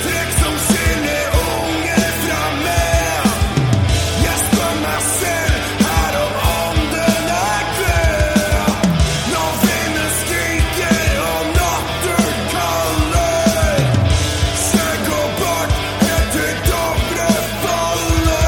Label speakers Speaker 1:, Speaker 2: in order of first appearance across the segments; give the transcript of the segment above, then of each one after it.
Speaker 1: Trekk som skiller unge fra menn. Jeg spør meg selv her om ånden er død. Når vinden skriker og natten kaller. Skjegg og bart helt til Dovre faller.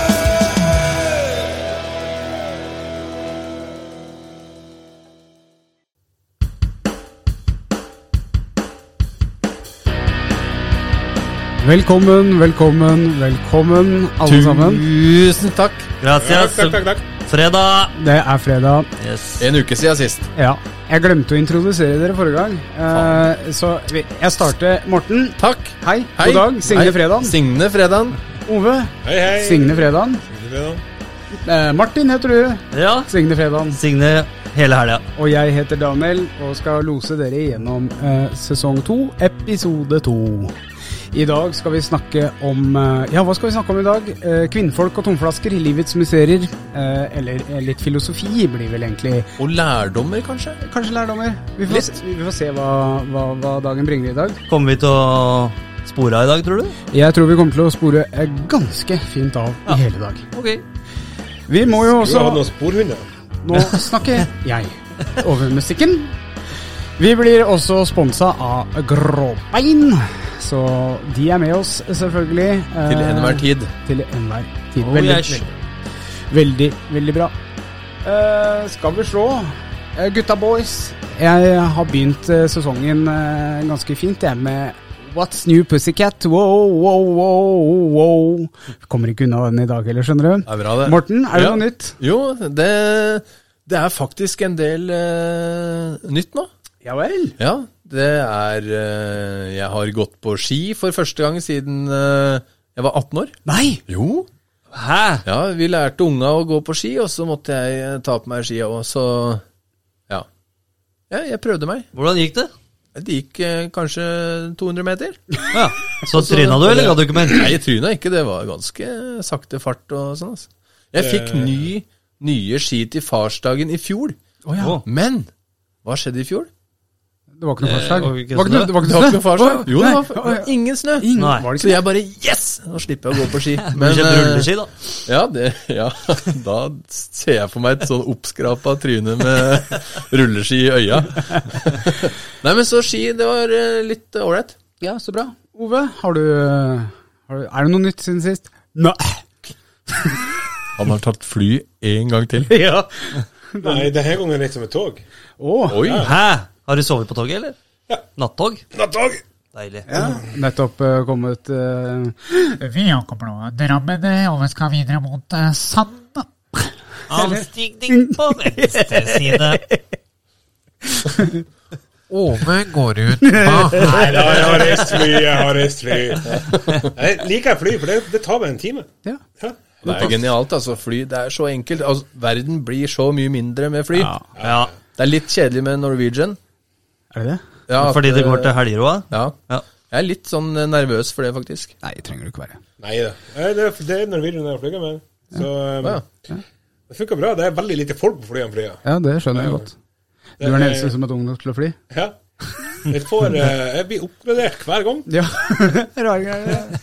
Speaker 2: Velkommen, velkommen, velkommen, alle sammen.
Speaker 3: Tusen takk.
Speaker 4: Gracias.
Speaker 5: Takk, takk, takk.
Speaker 4: Fredag.
Speaker 2: Det er fredag.
Speaker 4: Yes.
Speaker 3: En uke siden sist.
Speaker 2: Ja. Jeg glemte å introdusere dere forrige gang, eh, så vi- jeg starter. Morten,
Speaker 3: Takk.
Speaker 2: hei. God dag. Signe
Speaker 3: Hei.
Speaker 2: Fredan.
Speaker 3: Signe Fredan.
Speaker 2: Ove.
Speaker 5: Hei, hei.
Speaker 2: Signe Fredan. Eh, Martin heter du.
Speaker 4: Ja.
Speaker 2: Signe Fredan.
Speaker 4: Signe hele helga.
Speaker 2: Og jeg heter Daniel og skal lose dere gjennom eh, sesong to, episode to. I dag skal vi snakke om eh, Ja, hva skal vi snakke om i dag? Eh, kvinnfolk og tomflasker i livets mysterier. Eh, eller eh, litt filosofi, blir vel egentlig.
Speaker 3: Og lærdommer, kanskje?
Speaker 2: Kanskje lærdommer. Vi får, se, vi får se hva, hva, hva dagen bringer i dag.
Speaker 4: Kommer vi til å spore av i dag, tror du?
Speaker 2: Jeg tror vi kommer til å spore eh, ganske fint av
Speaker 4: Ja.
Speaker 2: i hele dag.
Speaker 4: Ok.
Speaker 2: Vi må jo
Speaker 5: Du
Speaker 2: også
Speaker 5: har hatt noen sporhunder?
Speaker 2: Nå snakker jeg over musikken. Vi blir også sponsa av Gråbein, så de er med oss, selvfølgelig. eh,
Speaker 3: Til enhver tid.
Speaker 2: Til enhver tid.
Speaker 4: Oh,
Speaker 2: veldig,
Speaker 4: yes.
Speaker 2: veldig, veldig bra. Eh, skal vi slå? Eh, gutta boys, jeg har begynt eh, sesongen eh, ganske fint, jeg, med What's New Pussycat? Wow, wow, wow, wow. Kommer ikke unna den i dag heller, skjønner du.
Speaker 3: Det er bra, det.
Speaker 2: Morten, er det
Speaker 3: Ja.
Speaker 2: noe nytt?
Speaker 3: Jo, det, det er faktisk en del eh, nytt nå.
Speaker 2: Ja vel.
Speaker 3: Ja, det er eh, Jeg har gått på ski for første gang siden eh, jeg var 18 år.
Speaker 2: Nei!
Speaker 3: Jo.
Speaker 4: Hæ?
Speaker 3: Ja, vi lærte unga å gå på ski, og så måtte jeg eh, ta på meg skia òg, så ja. ja. Jeg prøvde meg.
Speaker 4: Hvordan gikk det?
Speaker 3: Det gikk eh, kanskje 200 meter.
Speaker 4: Ja. Så tryna du, eller ga du ikke mer?
Speaker 3: Nei, jeg tryna ikke. Det var ganske sakte fart og sånn. Altså. Jeg fikk ny, nye ski til farsdagen i fjor.
Speaker 4: Å.
Speaker 3: Men hva skjedde i fjor?
Speaker 2: Det var ikke noe farsdag.
Speaker 4: Eh, var det
Speaker 2: Det
Speaker 4: ikke
Speaker 2: var ikke
Speaker 4: snø?
Speaker 2: noe- det var ikke
Speaker 3: Det var ikke
Speaker 2: noe
Speaker 3: noen farsdag. Jo, det
Speaker 2: Nei.
Speaker 3: var, det var ingen snø.
Speaker 2: Ingen,
Speaker 4: Nei.
Speaker 2: var det ikke
Speaker 3: Så
Speaker 2: det?
Speaker 3: jeg bare Yes! Nå slipper jeg å gå på ski.
Speaker 4: Men, Kjøpt
Speaker 3: eh,
Speaker 4: rulleski, da.
Speaker 3: ja, det, ja, da ser jeg for meg et sånn oppskrapa tryne med rulleski i øya. Nei, men så ski, det var eh, litt ålreit.
Speaker 2: Ja, så bra. Ove, har du, har du Er det noe nytt siden sist? Nei.
Speaker 3: Han har tatt fly én gang til.
Speaker 2: Ja.
Speaker 5: Nei, denne gangen er det som et tog.
Speaker 2: Å,
Speaker 3: Oi!
Speaker 4: Hæ? Har du sovet på toget, eller?
Speaker 5: Ja.
Speaker 4: Nattog?
Speaker 5: Nattog!
Speaker 4: Deilig.
Speaker 2: nettopp eh, kommet eh,
Speaker 6: Vi ankommer nå Drammen eh, og vi skal videre mot eh, Sand.
Speaker 4: Avstigning på venstre side.
Speaker 3: Åme går ut på
Speaker 5: Nei, da, jeg har reist fly, jeg har reist fly. Nei, liker jeg fly, for det, det tar bare en time.
Speaker 2: Ja.
Speaker 5: Ja.
Speaker 3: Det er genialt, altså. Fly, det er så enkelt. Altså, verden blir så mye mindre med fly.
Speaker 4: Ja.
Speaker 3: Det er litt kjedelig med Norwegian.
Speaker 2: Er det det?
Speaker 3: Ja, at,
Speaker 4: Fordi det går til
Speaker 3: eh,
Speaker 4: helgeroa?
Speaker 3: Ja.
Speaker 4: Ja.
Speaker 3: Jeg er litt sånn eh, nervøs for det, faktisk.
Speaker 2: Nei, trenger du ikke være.
Speaker 5: Nei da. Nei, Det, er- det er Norwegian jeg flyr med. Så um,
Speaker 3: Ja.
Speaker 5: det funker bra. Det er veldig lite folk på flyene. flyet.
Speaker 2: Ja, det skjønner jeg godt. Du er den eneste som er tung nok til å fly?
Speaker 5: Ja. Jeg, får, eh, jeg blir oppgradert hver gang.
Speaker 2: Ja. Rare greier.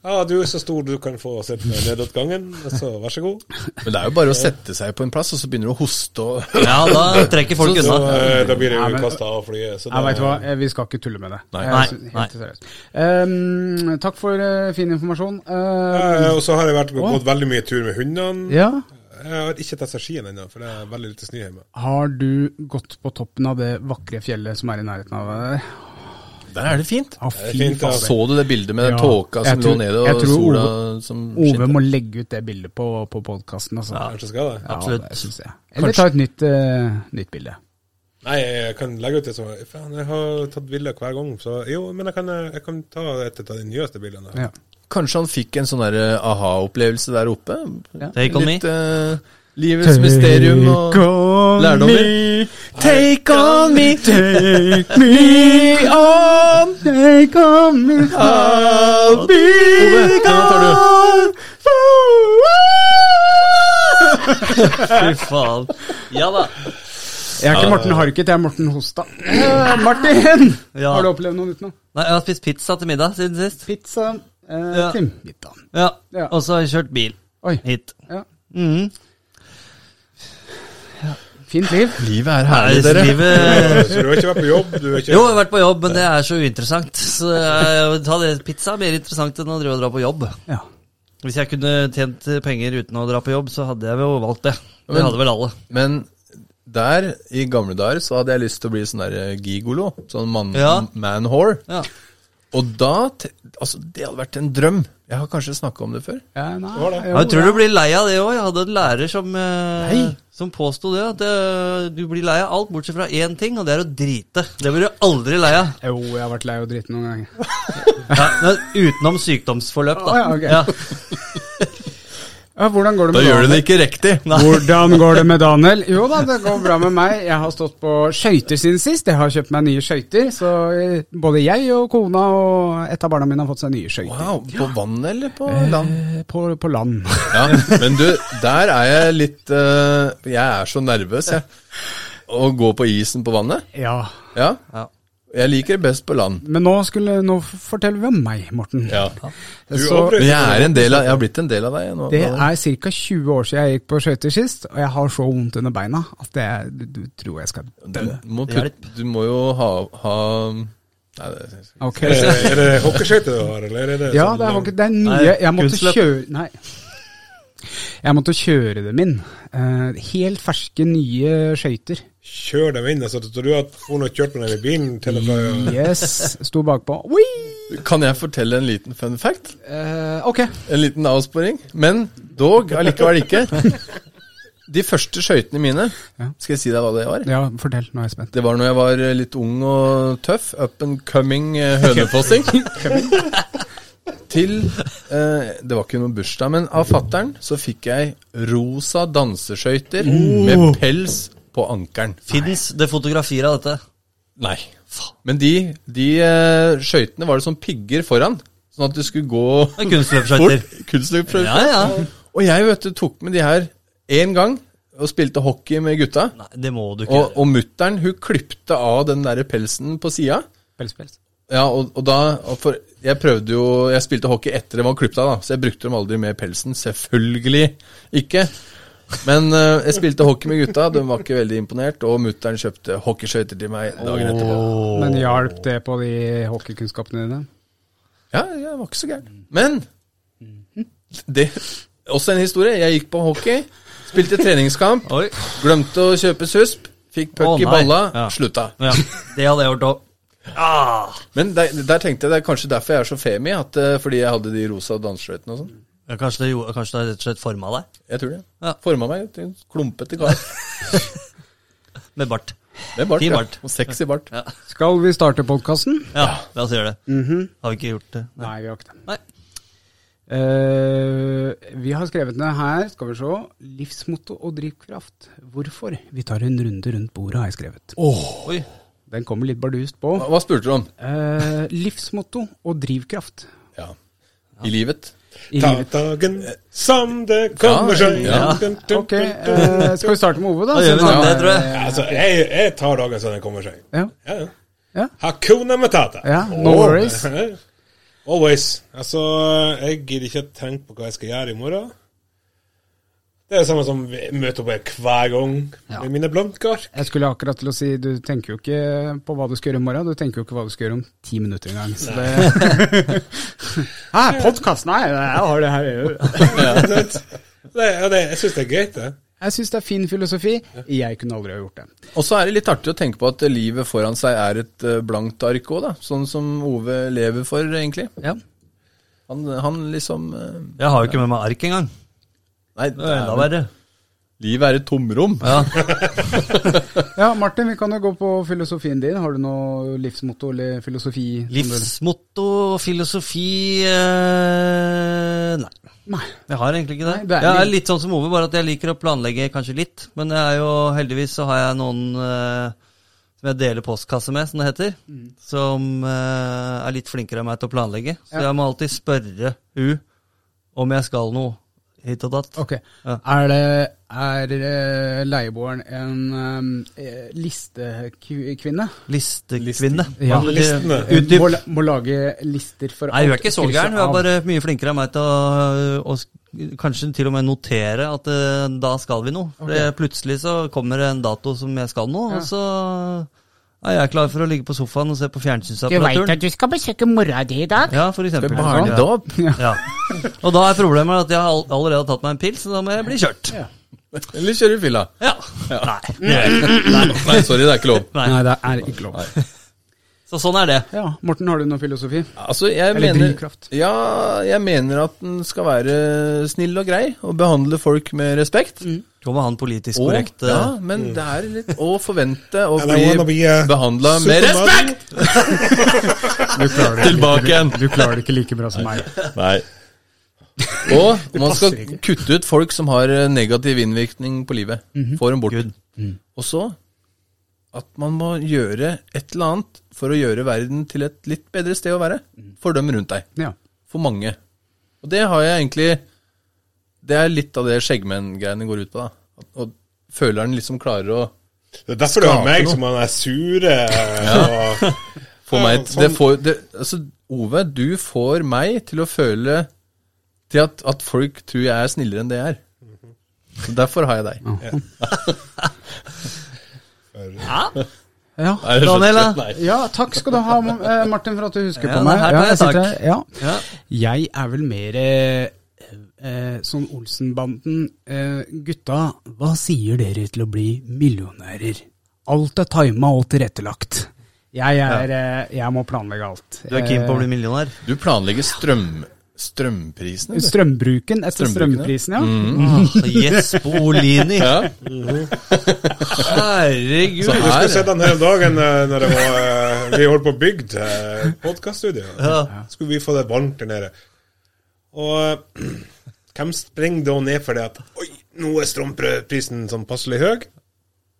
Speaker 5: Ja, du er så stor du kan få sett meg nedover gangen, så vær så god.
Speaker 3: Men det er jo bare å sette seg på en plass, og så begynner du å hoste og
Speaker 4: Ja, da trekker folk
Speaker 5: Så
Speaker 4: unna.
Speaker 5: eh, da blir jeg
Speaker 2: Nei,
Speaker 5: jo
Speaker 2: men-
Speaker 5: kasta av flyet. Så
Speaker 2: Nei,
Speaker 5: da-
Speaker 2: veit du hva, Eh, vi skal ikke tulle med det.
Speaker 3: Nei.
Speaker 2: Eh,
Speaker 4: Nei,
Speaker 2: så- helt
Speaker 4: nei.
Speaker 2: seriøst. Eh, takk for eh, fin informasjon. Eh,
Speaker 5: Eh, Og så har jeg vært,
Speaker 2: Å.
Speaker 5: gått veldig mye tur med hundene.
Speaker 2: ja.
Speaker 5: Jeg har ikke testa skien ennå, for det er veldig lite snø hjemme.
Speaker 2: Har du gått på toppen av det vakre fjellet som er i nærheten av deg der?
Speaker 3: Der er det fint.
Speaker 2: Å,
Speaker 5: Det er
Speaker 2: fy
Speaker 5: fint, ja.
Speaker 2: faen.
Speaker 3: Så du det bildet med den
Speaker 2: Ja.
Speaker 3: tåka som
Speaker 2: Jeg tror-
Speaker 3: lå nede,
Speaker 2: jeg
Speaker 3: og
Speaker 2: tror
Speaker 3: sola
Speaker 2: Ove-
Speaker 3: som
Speaker 2: Ove
Speaker 3: skinte?
Speaker 2: må legge ut det bildet på, på podkasten. Altså.
Speaker 4: Ja.
Speaker 5: Kanskje skal det?
Speaker 2: Ja,
Speaker 4: absolutt.
Speaker 2: det synes jeg. Eller ta et nytt, eh, nytt bilde.
Speaker 5: Nei, jeg kan legge ut det som Faen, jeg har tatt bilder hver gang, så Jo, men jeg kan, jeg kan ta et av de nyeste bildene.
Speaker 2: Ja.
Speaker 3: Kanskje han fikk en sånn der, eh, aha-opplevelse der oppe?
Speaker 4: Take on me.
Speaker 3: Litt eh, livets mysterium og lærdommer.
Speaker 2: Take on me, take me on, take on me, I'll be
Speaker 3: Ove, den tar du.
Speaker 2: gone for
Speaker 4: Fy faen. Ja da.
Speaker 2: Jeg er ikke Morten Harket, jeg er Morten Hosta. Eh, Martin!
Speaker 4: Ja.
Speaker 2: Har du opplevd noe utenom?
Speaker 4: Nei, jeg har spist pizza til middag siden sist.
Speaker 2: Pizza eh,
Speaker 4: Ja.
Speaker 2: til middag.
Speaker 4: Ja.
Speaker 2: Ja.
Speaker 4: Og så har jeg kjørt bil
Speaker 2: Oi.
Speaker 4: hit.
Speaker 2: Ja.
Speaker 4: Mhm.
Speaker 2: Fint liv.
Speaker 3: Livet er
Speaker 4: Nei,
Speaker 3: herlig, dere.
Speaker 4: livet
Speaker 5: Så du har ikke vært på jobb? Du har ikke
Speaker 4: Jo, jeg har vært på jobb, men det er så uinteressant. Så jeg, ta det, pizza er mer interessant enn å drive og dra på jobb.
Speaker 2: Ja.
Speaker 4: Hvis jeg kunne tjent penger uten å dra på jobb, så hadde jeg jo valgt det. Det
Speaker 3: Men-
Speaker 4: hadde vel alle.
Speaker 3: Men der, i gamle dager, så hadde jeg lyst til å bli sånn der gigolo. Sånn man,
Speaker 4: Ja.
Speaker 3: man-whore.
Speaker 4: Ja.
Speaker 3: Og da te- Altså, det hadde vært en drøm. Jeg har kanskje snakka om det før.
Speaker 2: Ja, nei,
Speaker 5: var det.
Speaker 2: jo,
Speaker 4: Jeg tror
Speaker 2: ja.
Speaker 4: du blir lei av det òg. Jeg hadde en lærer som, eh, som påsto det. At eh, du blir lei av alt bortsett fra én ting, og det er å drite. Det blir du aldri lei av.
Speaker 2: Jo, jeg har vært lei av dritt noen ganger.
Speaker 4: Ja, men utenom sykdomsforløp, da.
Speaker 2: Å, ja, Ja, hvordan går det
Speaker 3: Da
Speaker 2: med
Speaker 3: gjør du
Speaker 2: Daniel?
Speaker 3: det ikke riktig.
Speaker 2: Hvordan går det med Daniel? Jo da, det går bra med meg. Jeg har stått på skøyter siden sist. Jeg har kjøpt meg nye skøyter, så eh, både jeg og kona og et av barna mine har fått seg nye skøyter.
Speaker 3: Wow, På vann eller på land?
Speaker 2: Eh, På, på land.
Speaker 3: Ja, Men du, der er jeg litt eh, Jeg er så nervøs, jeg. Å gå på isen på vannet.
Speaker 2: Ja.
Speaker 3: Ja.
Speaker 4: Ja.
Speaker 3: Jeg liker det best på land.
Speaker 2: Men nå, skulle, nå forteller vi om meg, Morten.
Speaker 3: Ja.
Speaker 5: Du
Speaker 2: Så-
Speaker 5: avbrøt
Speaker 3: Men jeg er en del av Jeg har blitt en del av deg jeg, nå.
Speaker 2: Det er ca. 20 år siden jeg gikk på skøyter sist, og jeg har så vondt under beina at det, du, du tror jeg skal
Speaker 3: du,
Speaker 2: dø.
Speaker 3: må putt, du må jo ha, ha Nei, det,
Speaker 2: Ok.
Speaker 5: Er det, Eh, er det hockeyskøyter du har, eller er det
Speaker 2: Ja,
Speaker 5: sånn-
Speaker 2: det er ikke det er nye
Speaker 4: Nei,
Speaker 2: Jeg måtte
Speaker 4: kunstløp.
Speaker 2: kjøre Nei. Jeg måtte kjøre dem inn. Eh, helt ferske, nye skøyter.
Speaker 5: Kjør dem inn. Altså, tror du at hun har kjørt med dem i bilen til og fra
Speaker 2: Mm.
Speaker 5: ja.
Speaker 2: Yes. Sto bakpå. Oi!
Speaker 3: Kan jeg fortelle en liten fun fact?
Speaker 2: Eh, ok.
Speaker 3: En liten avsporing? Men dog allikevel ikke. De første skøytene mine,
Speaker 2: Ja.
Speaker 3: skal jeg si deg hva det var?
Speaker 2: Ja, fortell. Nå er jeg spent.
Speaker 3: Det var når jeg var eh, litt ung og tøff. Up and coming eh, hønefossing. Til eh, Det var ikke noen bursdag, men av fattern så fikk jeg rosa danseskøyter
Speaker 2: Uh.
Speaker 3: med pels på ankelen.
Speaker 4: Fins det fotografier av dette?
Speaker 3: Nei. Men de, de eh, skøytene var det sånn pigger foran, sånn at du skulle gå
Speaker 4: Det er Kunstløpsskøyter.
Speaker 3: fort. Kunstløpsskøyter.
Speaker 4: Ja, ja.
Speaker 3: Og jeg vet du, tok med de her én gang og spilte hockey med gutta.
Speaker 4: Nei, det må du ikke
Speaker 3: Og,
Speaker 4: gjøre.
Speaker 3: og mutter'n hun klipte av den der pelsen på sida.
Speaker 2: Pels, pels.
Speaker 3: Ja, og, og da og For jeg prøvde jo Jeg spilte hockey etter de var klippet av, da, så jeg brukte dem aldri med pelsen. Selvfølgelig ikke. Men eh, jeg spilte hockey med gutta, de var ikke veldig imponert. Og mutter'n kjøpte hockeyskøyter til meg dagen etterpå.
Speaker 2: Men hjalp det på de hockeykunnskapene dine?
Speaker 3: Ja, jeg var ikke så gæren. Men det Også en historie. Jeg gikk på hockey, spilte treningskamp,
Speaker 4: Oi.
Speaker 3: glemte å kjøpe susp, fikk puck
Speaker 4: Å,
Speaker 3: i
Speaker 4: nei.
Speaker 3: balla,
Speaker 4: Ja.
Speaker 3: slutta.
Speaker 4: Ja, det hadde jeg gjort òg.
Speaker 3: Men der, der tenkte jeg det er kanskje derfor jeg er så femi, at, eh, fordi jeg hadde de rosa danseskøytene og sånn.
Speaker 4: Ja, Kanskje det gjorde- kanskje det rett og slett forma deg?
Speaker 3: Jeg tror det.
Speaker 4: Ja.
Speaker 3: Forma meg til en klumpete kar.
Speaker 4: Med bart.
Speaker 3: Med bart.
Speaker 4: Fin
Speaker 3: ja.
Speaker 4: bart.
Speaker 3: Og sexy bart.
Speaker 4: Ja.
Speaker 2: Skal vi starte podkasten?
Speaker 4: Ja, la oss gjøre det. Har vi ikke gjort det?
Speaker 2: Nei, vi har ikke det.
Speaker 4: Nei.
Speaker 2: Eh, vi har skrevet ned her, skal vi se, livsmotto og drivkraft. Hvorfor? Vi tar en runde rundt bordet, har jeg skrevet.
Speaker 4: Oi.
Speaker 2: Den kommer litt bardust på.
Speaker 3: Hva, hva spurte du om?
Speaker 2: Eh, livsmotto og drivkraft
Speaker 3: Ja. I livet.
Speaker 2: i
Speaker 5: Ta
Speaker 2: livet.
Speaker 5: dagen som det kommer
Speaker 3: Ja,
Speaker 5: seg.
Speaker 3: ja.
Speaker 2: Ok, eh, skal vi starte med Ove, da?
Speaker 4: Da gjør vi det,
Speaker 2: Siden han-
Speaker 4: det tror jeg.
Speaker 5: Altså, jeg, jeg tar dagen som den kommer seg.
Speaker 2: Ja,
Speaker 5: Ja, ja.
Speaker 2: Ja.
Speaker 5: Hakuna Matata.
Speaker 2: Ja, no
Speaker 5: Åh.
Speaker 2: worries.
Speaker 5: Always. Altså, jeg gidder ikke å tenke på hva jeg skal gjøre i morgen. Det er det samme som vi møter opp her hver gang
Speaker 2: Ja.
Speaker 5: med mine blankark.
Speaker 2: jeg skulle akkurat til å si du tenker jo ikke på hva du skal gjøre i morgen, du tenker jo ikke hva du skal gjøre om ti minutter engang. Så det Hæ, podkast? Ah, Nei, jeg har det her i øret.
Speaker 5: Det, ja, det, jeg syns det er greit, det.
Speaker 2: Jeg syns det er fin filosofi. Jeg kunne aldri ha gjort det.
Speaker 3: Og så er det litt artig å tenke på at livet foran seg er et eh, blankt ark òg, da. Sånn som Ove lever for, egentlig.
Speaker 2: Ja.
Speaker 3: Han, han liksom eh,
Speaker 4: Jeg har jo ikke med meg ark engang.
Speaker 3: Nei,
Speaker 4: Det er enda verre.
Speaker 3: livet er et tomrom.
Speaker 4: Ja.
Speaker 2: ja, Martin, vi kan jo gå på filosofien din. Har du noe livsmotto eller filosofi? som du-
Speaker 4: Livsmotto, filosofi eh, Nei.
Speaker 2: Nei.
Speaker 4: Jeg har egentlig ikke
Speaker 2: Nei,
Speaker 4: det.
Speaker 2: det er
Speaker 4: jeg er
Speaker 2: litt-
Speaker 4: litt sånn som Ove, bare at jeg liker å planlegge kanskje litt. Men jeg er jo, heldigvis så har jeg noen eh, som jeg deler postkasse med, som det heter.
Speaker 2: Mm.
Speaker 4: Som eh, er litt flinkere enn meg til å planlegge. Så
Speaker 2: Ja.
Speaker 4: jeg må alltid spørre hun om jeg skal noe hit og datt.
Speaker 2: Ok.
Speaker 4: Ja.
Speaker 2: Er, det, er eh, leieboeren en eh, listekvinne?
Speaker 4: Listekvinne.
Speaker 2: Ja.
Speaker 5: Listene.
Speaker 4: Utdyp.
Speaker 2: Eh, Må, la- må lage lister for
Speaker 4: Nei, hun er
Speaker 2: alt
Speaker 4: ikke så
Speaker 2: krysset
Speaker 4: gæren. Hun
Speaker 2: av.
Speaker 4: er bare mye flinkere enn meg til å å sk- Kanskje til og med notere at eh, da skal vi noe. For det- plutselig så kommer det en dato som jeg skal noe,
Speaker 2: Ja.
Speaker 4: og så er jeg klar for å ligge på sofaen og se på
Speaker 6: Du veit
Speaker 4: fjernsynsapparaturen.
Speaker 6: at du skal besøke mora di i dag?
Speaker 4: Ja, for eksempel.
Speaker 3: Barnedåp?
Speaker 4: Ja. Og da er problemet at jeg all- allerede har tatt meg en pils, så da må jeg bli kjørt.
Speaker 3: Eller kjøre i fylla?
Speaker 4: Ja. Nei.
Speaker 3: Nei, sorry, det er ikke lov.
Speaker 4: Nei.
Speaker 2: Nei, det er ikke lov.
Speaker 4: Så sånn er det.
Speaker 2: Ja, Morten, har du noe filosofi?
Speaker 3: Altså, jeg
Speaker 2: Eller
Speaker 3: mener,
Speaker 2: drivkraft.
Speaker 3: ja, jeg mener at den skal være snill og grei, og behandle folk med respekt.
Speaker 4: Så må han politisk
Speaker 3: Og,
Speaker 4: korrekt eh,
Speaker 3: ja, men det er litt å forvente å
Speaker 5: And I wanna
Speaker 3: bli
Speaker 5: be
Speaker 4: eh,
Speaker 5: a
Speaker 3: behandla med
Speaker 5: supermodel.
Speaker 3: respekt!
Speaker 2: Du klarer det
Speaker 3: Tilbake igjen.
Speaker 2: Du klarer det ikke like bra som meg.
Speaker 3: Nei. Og man skal
Speaker 2: passer ikke.
Speaker 3: kutte ut folk som har eh, negativ innvirkning på livet.
Speaker 2: Mhm.
Speaker 3: Får dem bort.
Speaker 4: Good.
Speaker 3: Og så at man må gjøre et eller annet for å gjøre verden til et litt bedre sted å være
Speaker 2: Mhm.
Speaker 3: for dem rundt deg.
Speaker 2: Ja.
Speaker 3: For mange. Og det har jeg egentlig Det er litt av det skjeggmenn-greiene går ut på. da. At- Og føleren liksom klarer å
Speaker 5: Det er derfor du har
Speaker 3: Skape
Speaker 5: meg
Speaker 3: noe.
Speaker 5: som han er sure. og-
Speaker 3: få
Speaker 5: Ja,
Speaker 3: meg
Speaker 5: sånn.
Speaker 3: det får, det, altså, Ove, du får meg til å føle til at, at folk tror jeg er snillere enn det jeg er.
Speaker 5: Mhm.
Speaker 3: Så derfor har jeg deg.
Speaker 2: Ja.
Speaker 3: Nei, det er
Speaker 4: Daniel,
Speaker 3: slett-
Speaker 4: da?
Speaker 3: nei.
Speaker 2: ja, takk skal du ha, eh, Martin, for at du husker
Speaker 4: Ja,
Speaker 2: på
Speaker 4: det
Speaker 2: meg.
Speaker 4: her ble
Speaker 2: jeg,
Speaker 4: takk.
Speaker 2: sitter her. ja.
Speaker 4: Ja.
Speaker 2: Jeg er vel mer eh, eh, sånn Olsenbanden. Eh, gutta, hva sier dere til å bli millionærer? Alt er tima og tilrettelagt. Jeg, er, eh, jeg må planlegge alt.
Speaker 4: Du er keen på å bli millionær?
Speaker 3: Du planlegger strøm, strømprisen?
Speaker 2: Eh,
Speaker 3: eller?
Speaker 2: Strømbruken etter
Speaker 3: Strømbruken,
Speaker 2: strømprisen, ja.
Speaker 4: Mm. Yes, Bolini!
Speaker 3: Ja.
Speaker 4: Herregud.
Speaker 3: Så
Speaker 5: Du skulle
Speaker 3: her,
Speaker 5: sett han hele dagen eh, Når det var, eh, vi holdt på å bygge eh, podcaststudio.
Speaker 4: Ja.
Speaker 5: Skulle vi få det varmt der nede. Og eh, hvem springer da ned fordi at Oi, nå er strømprisen sånn passelig høy.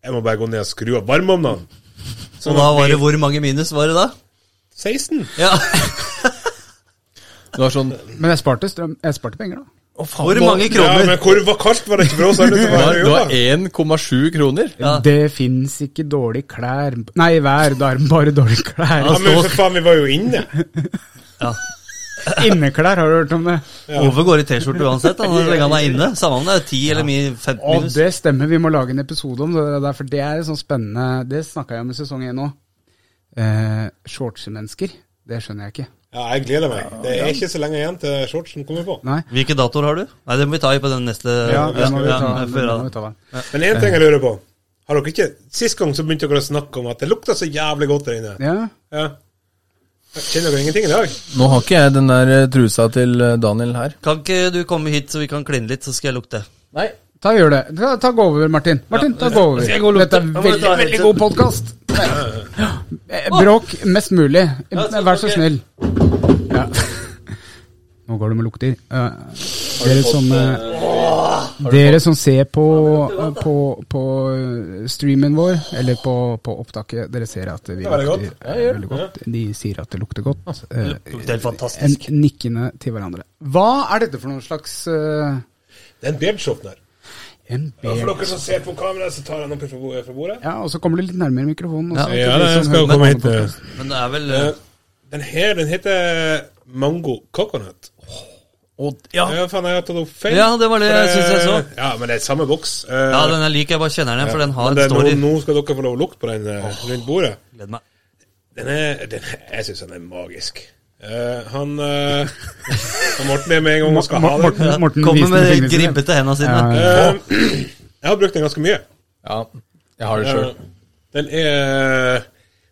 Speaker 5: Jeg må bare gå ned og skru av varmeovnen.
Speaker 4: Og
Speaker 5: Sånn
Speaker 4: da var det hvor mange minus var det da?
Speaker 5: 16.
Speaker 4: Ja.
Speaker 3: Det var sånn
Speaker 2: Men jeg sparte, strøm, jeg sparte penger, da.
Speaker 3: Å, faen.
Speaker 4: Hvor
Speaker 3: nå-
Speaker 4: mange
Speaker 5: Ja,
Speaker 4: kroner?
Speaker 5: men hvor var kaldt var det ikke for oss? alle som
Speaker 3: Det var,
Speaker 5: her og
Speaker 3: det var
Speaker 5: jobbet?
Speaker 3: 1,7 kroner.
Speaker 4: Ja.
Speaker 2: Det fins ikke dårlige klær Nei, vær, det er bare dårlige klær.
Speaker 5: Ja, men for faen, vi var jo inne.
Speaker 4: Ja.
Speaker 2: Inneklær, har du hørt om det?
Speaker 4: Ove går i T-skjorte uansett, han, så lenge han er inne. Samme om det er 10 eller mi- 15
Speaker 2: Og
Speaker 4: minus.
Speaker 2: det stemmer, vi må lage en episode om det der, for det er sånn spennende Det snakka jeg om i sesong én òg. Eh, Shortsmennesker, det skjønner jeg ikke.
Speaker 5: Ja, jeg gleder meg. Det er ikke så lenge igjen til shortsen kommer på.
Speaker 2: Nei.
Speaker 4: Hvilke datoer har du? Nei, det må vi ta i på den neste
Speaker 2: Ja, det må vi
Speaker 4: ja,
Speaker 2: ta.
Speaker 4: ja,
Speaker 2: det må
Speaker 4: før da.
Speaker 2: vi ta den.
Speaker 5: Men én ting jeg lurer på. Har dere ikke, Sist gang så begynte dere å snakke om at det lukta så jævlig godt der inne.
Speaker 2: Ja.
Speaker 5: Ja. Kjenner dere ingenting i dag?
Speaker 3: Nå har ikke jeg den der eh, trusa til eh, Daniel her.
Speaker 4: Kan ikke du komme hit så vi kan kline litt, så skal jeg lukte?
Speaker 3: Nei.
Speaker 2: Ta gjør det. Ta, ta gå over, Martin. Martin, ta gå over.
Speaker 4: jeg gå og lukte?
Speaker 2: Dette er
Speaker 4: Jeg må
Speaker 2: veldig,
Speaker 4: ta helt
Speaker 2: veldig
Speaker 4: til.
Speaker 2: god podkast. Bråk mest mulig. Vær så
Speaker 4: ok.
Speaker 2: snill. Ja. Nå går det med lukter. Eh, Dere som eh, Dere som ser på, på, på eh, streamen vår, eller på, på opptaket, dere ser at vi
Speaker 5: Ja, det er
Speaker 2: lukter eh,
Speaker 5: godt. Ja, gjør det.
Speaker 2: veldig godt. De sier at det lukter godt. Eh,
Speaker 4: Lukter helt
Speaker 2: En
Speaker 4: fantastisk.
Speaker 2: nikkende til hverandre. Hva er dette for noen slags eh,
Speaker 5: Det er en bedshopner.
Speaker 2: en
Speaker 5: Ja,
Speaker 2: bel-
Speaker 5: for dere som ser på kamera, så tar han opp fra bo- eh, fra bordet.
Speaker 2: Ja, og så kommer du litt nærmere mikrofonen.
Speaker 4: Ja.
Speaker 2: Også,
Speaker 5: Ja, jeg skal komme hit.
Speaker 4: Men det er vel
Speaker 5: Eh, Den her den heter mango coconut.
Speaker 3: Og, ja.
Speaker 5: Ja, faen, jeg har tatt opp feil.
Speaker 4: Ja, det var det jeg
Speaker 5: For, eh,
Speaker 4: synes jeg så.
Speaker 5: Ja, men det er samme boks. Eh,
Speaker 4: Ja, den er lik, jeg bare kjenner den, for den har
Speaker 5: men
Speaker 4: en
Speaker 5: det er
Speaker 4: story.
Speaker 5: nå, nå skal dere få lov å lukte på den eh, rundt bordet.
Speaker 4: Gleder meg.
Speaker 5: Den er, den er, jeg syns han er magisk. Eh, han, eh, han Morten er med en gang og skal ha
Speaker 2: Morten, Morten,
Speaker 5: den.
Speaker 2: Morten
Speaker 4: Kommer
Speaker 2: viser
Speaker 4: med
Speaker 2: fingrene sine.
Speaker 4: grimpete hendene sine.
Speaker 2: Ja,
Speaker 5: Eh, jeg har brukt den ganske mye.
Speaker 3: ja. Jeg har det sjøl.
Speaker 5: Eh, Den er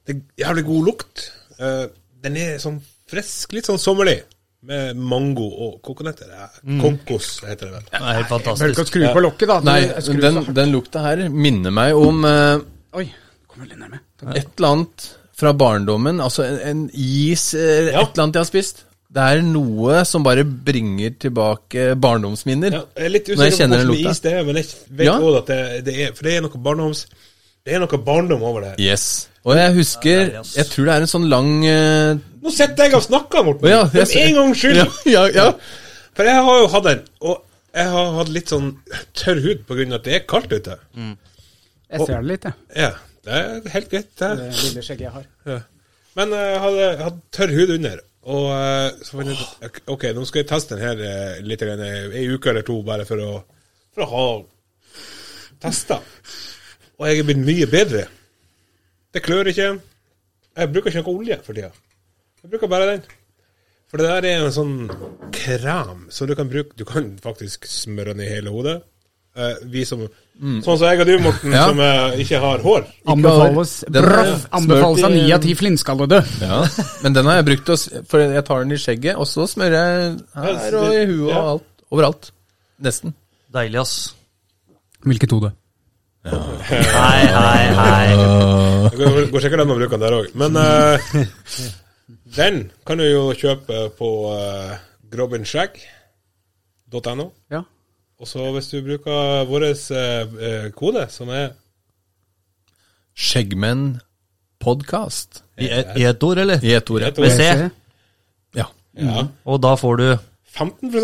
Speaker 5: Det er jævlig god lukt. Eh, den er sånn frisk, litt sånn sommerlig. Med mango og kokonøtter. Mm. Konkos heter det vel.
Speaker 4: Det er helt
Speaker 2: Bør ikke
Speaker 4: fantastisk.
Speaker 2: skru på lokket, da. Du-
Speaker 3: Nei,
Speaker 2: skru på-
Speaker 3: den, den lukta her minner meg om eh,
Speaker 2: Oi, kommer litt nærmere. Takk.
Speaker 3: et eller annet fra barndommen. Altså en, en is, eh, et eller annet jeg har spist. Det er noe som bare bringer tilbake barndomsminner.
Speaker 5: Ja, jeg er litt
Speaker 3: Når jeg
Speaker 5: usikker på
Speaker 3: kjenner den
Speaker 5: hvordan
Speaker 3: lukta.
Speaker 5: is det er, men jeg vet
Speaker 3: Ja.
Speaker 5: også at det, det er For det er noe barndoms Det er noe barndom over det her.
Speaker 3: Yes. Og jeg husker
Speaker 4: Ja, yes.
Speaker 3: Jeg tror det er en sånn lang eh,
Speaker 5: Nå sitter jeg og snakker, Morten!
Speaker 3: å ja,
Speaker 5: For
Speaker 3: jeg-
Speaker 5: en gangs skyld!
Speaker 3: Ja, ja, ja.
Speaker 5: For jeg har jo hatt den, og Jeg har hatt litt sånn tørr hud pga. at det er kaldt ute.
Speaker 3: Mm.
Speaker 2: Jeg ser det litt, jeg.
Speaker 5: Ja, det er helt greit.
Speaker 2: Det
Speaker 5: Det.
Speaker 2: lille skjegget jeg har.
Speaker 5: Ja. Men eh, jeg hadde, jeg hadde tørr hud under. Og eh, så fant jeg ut at, OK, nå skal jeg teste den her eh, litt grann, eh, ei uke eller to, bare for å, for å ha testa. Og jeg er blitt mye bedre. Det klør ikke. Jeg bruker ikke noe olje for tida. Jeg bruker bare den. For det der er en sånn kram som du kan bruke Du kan faktisk smøre den i hele hodet. Eh, vi som Sånn som jeg og du, Morten,
Speaker 3: Ja.
Speaker 5: som eh, ikke har hår.
Speaker 2: Anbefales,
Speaker 3: Den er
Speaker 2: braff,
Speaker 3: smørt
Speaker 2: anbefales av
Speaker 3: i-
Speaker 2: ni av ti flintskallede.
Speaker 3: Ja, men den har jeg brukt, til å s- for jeg tar den i skjegget, og så smører jeg her og i huet og
Speaker 5: Ja.
Speaker 3: alt. Overalt. Nesten.
Speaker 4: Deilig, ass.
Speaker 2: Hvilket hode?
Speaker 4: Hei, hei, hei.
Speaker 5: Det går, går sikkert an å bruke den der òg. Men eh, den kan du jo kjøpe på uh, grobbenskjegg.no.
Speaker 2: Ja.
Speaker 5: Og så hvis du bruker vår eh, kode, som er
Speaker 3: Skjeggmenn podcast.
Speaker 4: I, I et ord, eller?
Speaker 3: I ett ord. ja.
Speaker 4: Med C.
Speaker 3: Ja. Mhm.
Speaker 5: ja,
Speaker 4: Og da får du
Speaker 5: 15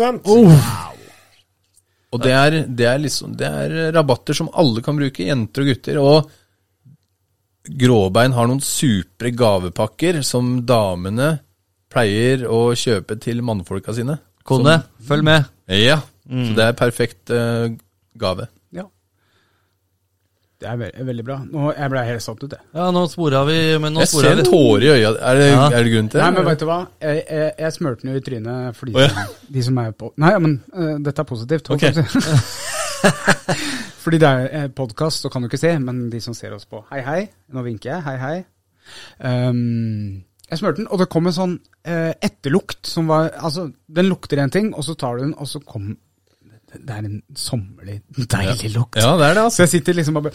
Speaker 3: Og det er, det, er liksom, det er rabatter som alle kan bruke, jenter og gutter. Og Gråbein har noen supre gavepakker som damene pleier å kjøpe til mannfolka sine.
Speaker 4: kone. Følg med.
Speaker 3: Ja, så det er perfekt eh, gave.
Speaker 2: ja. Det er ve veldig bra. Nå, jeg ble helt satt ut, jeg.
Speaker 4: Ja, nå spora vi. Men nå
Speaker 3: Jeg ser
Speaker 4: spora
Speaker 3: en
Speaker 4: vi.
Speaker 3: tåre i øya. Er det,
Speaker 4: Ja.
Speaker 3: er det grunn til det?
Speaker 2: Nei, men vet du hva? Jeg, jeg, jeg smurte den jo i trynet for de,
Speaker 3: Å, ja.
Speaker 2: som- de som er på Nei, ja, men eh, dette er positivt. holdt
Speaker 3: Ok.
Speaker 2: jeg på å si. Fordi det er podkast, så kan du ikke se, men de som ser oss på Hei, hei. Nå vinker jeg. Hei, hei. Ehm, jeg smurte den, og det kom en sånn eh, etterlukt som var Altså, den lukter en ting, og så tar du den, og så kom Det er en sommerlig, deilig lukt.
Speaker 3: Ja, det er det,
Speaker 2: Så
Speaker 3: altså.
Speaker 2: jeg sitter liksom bare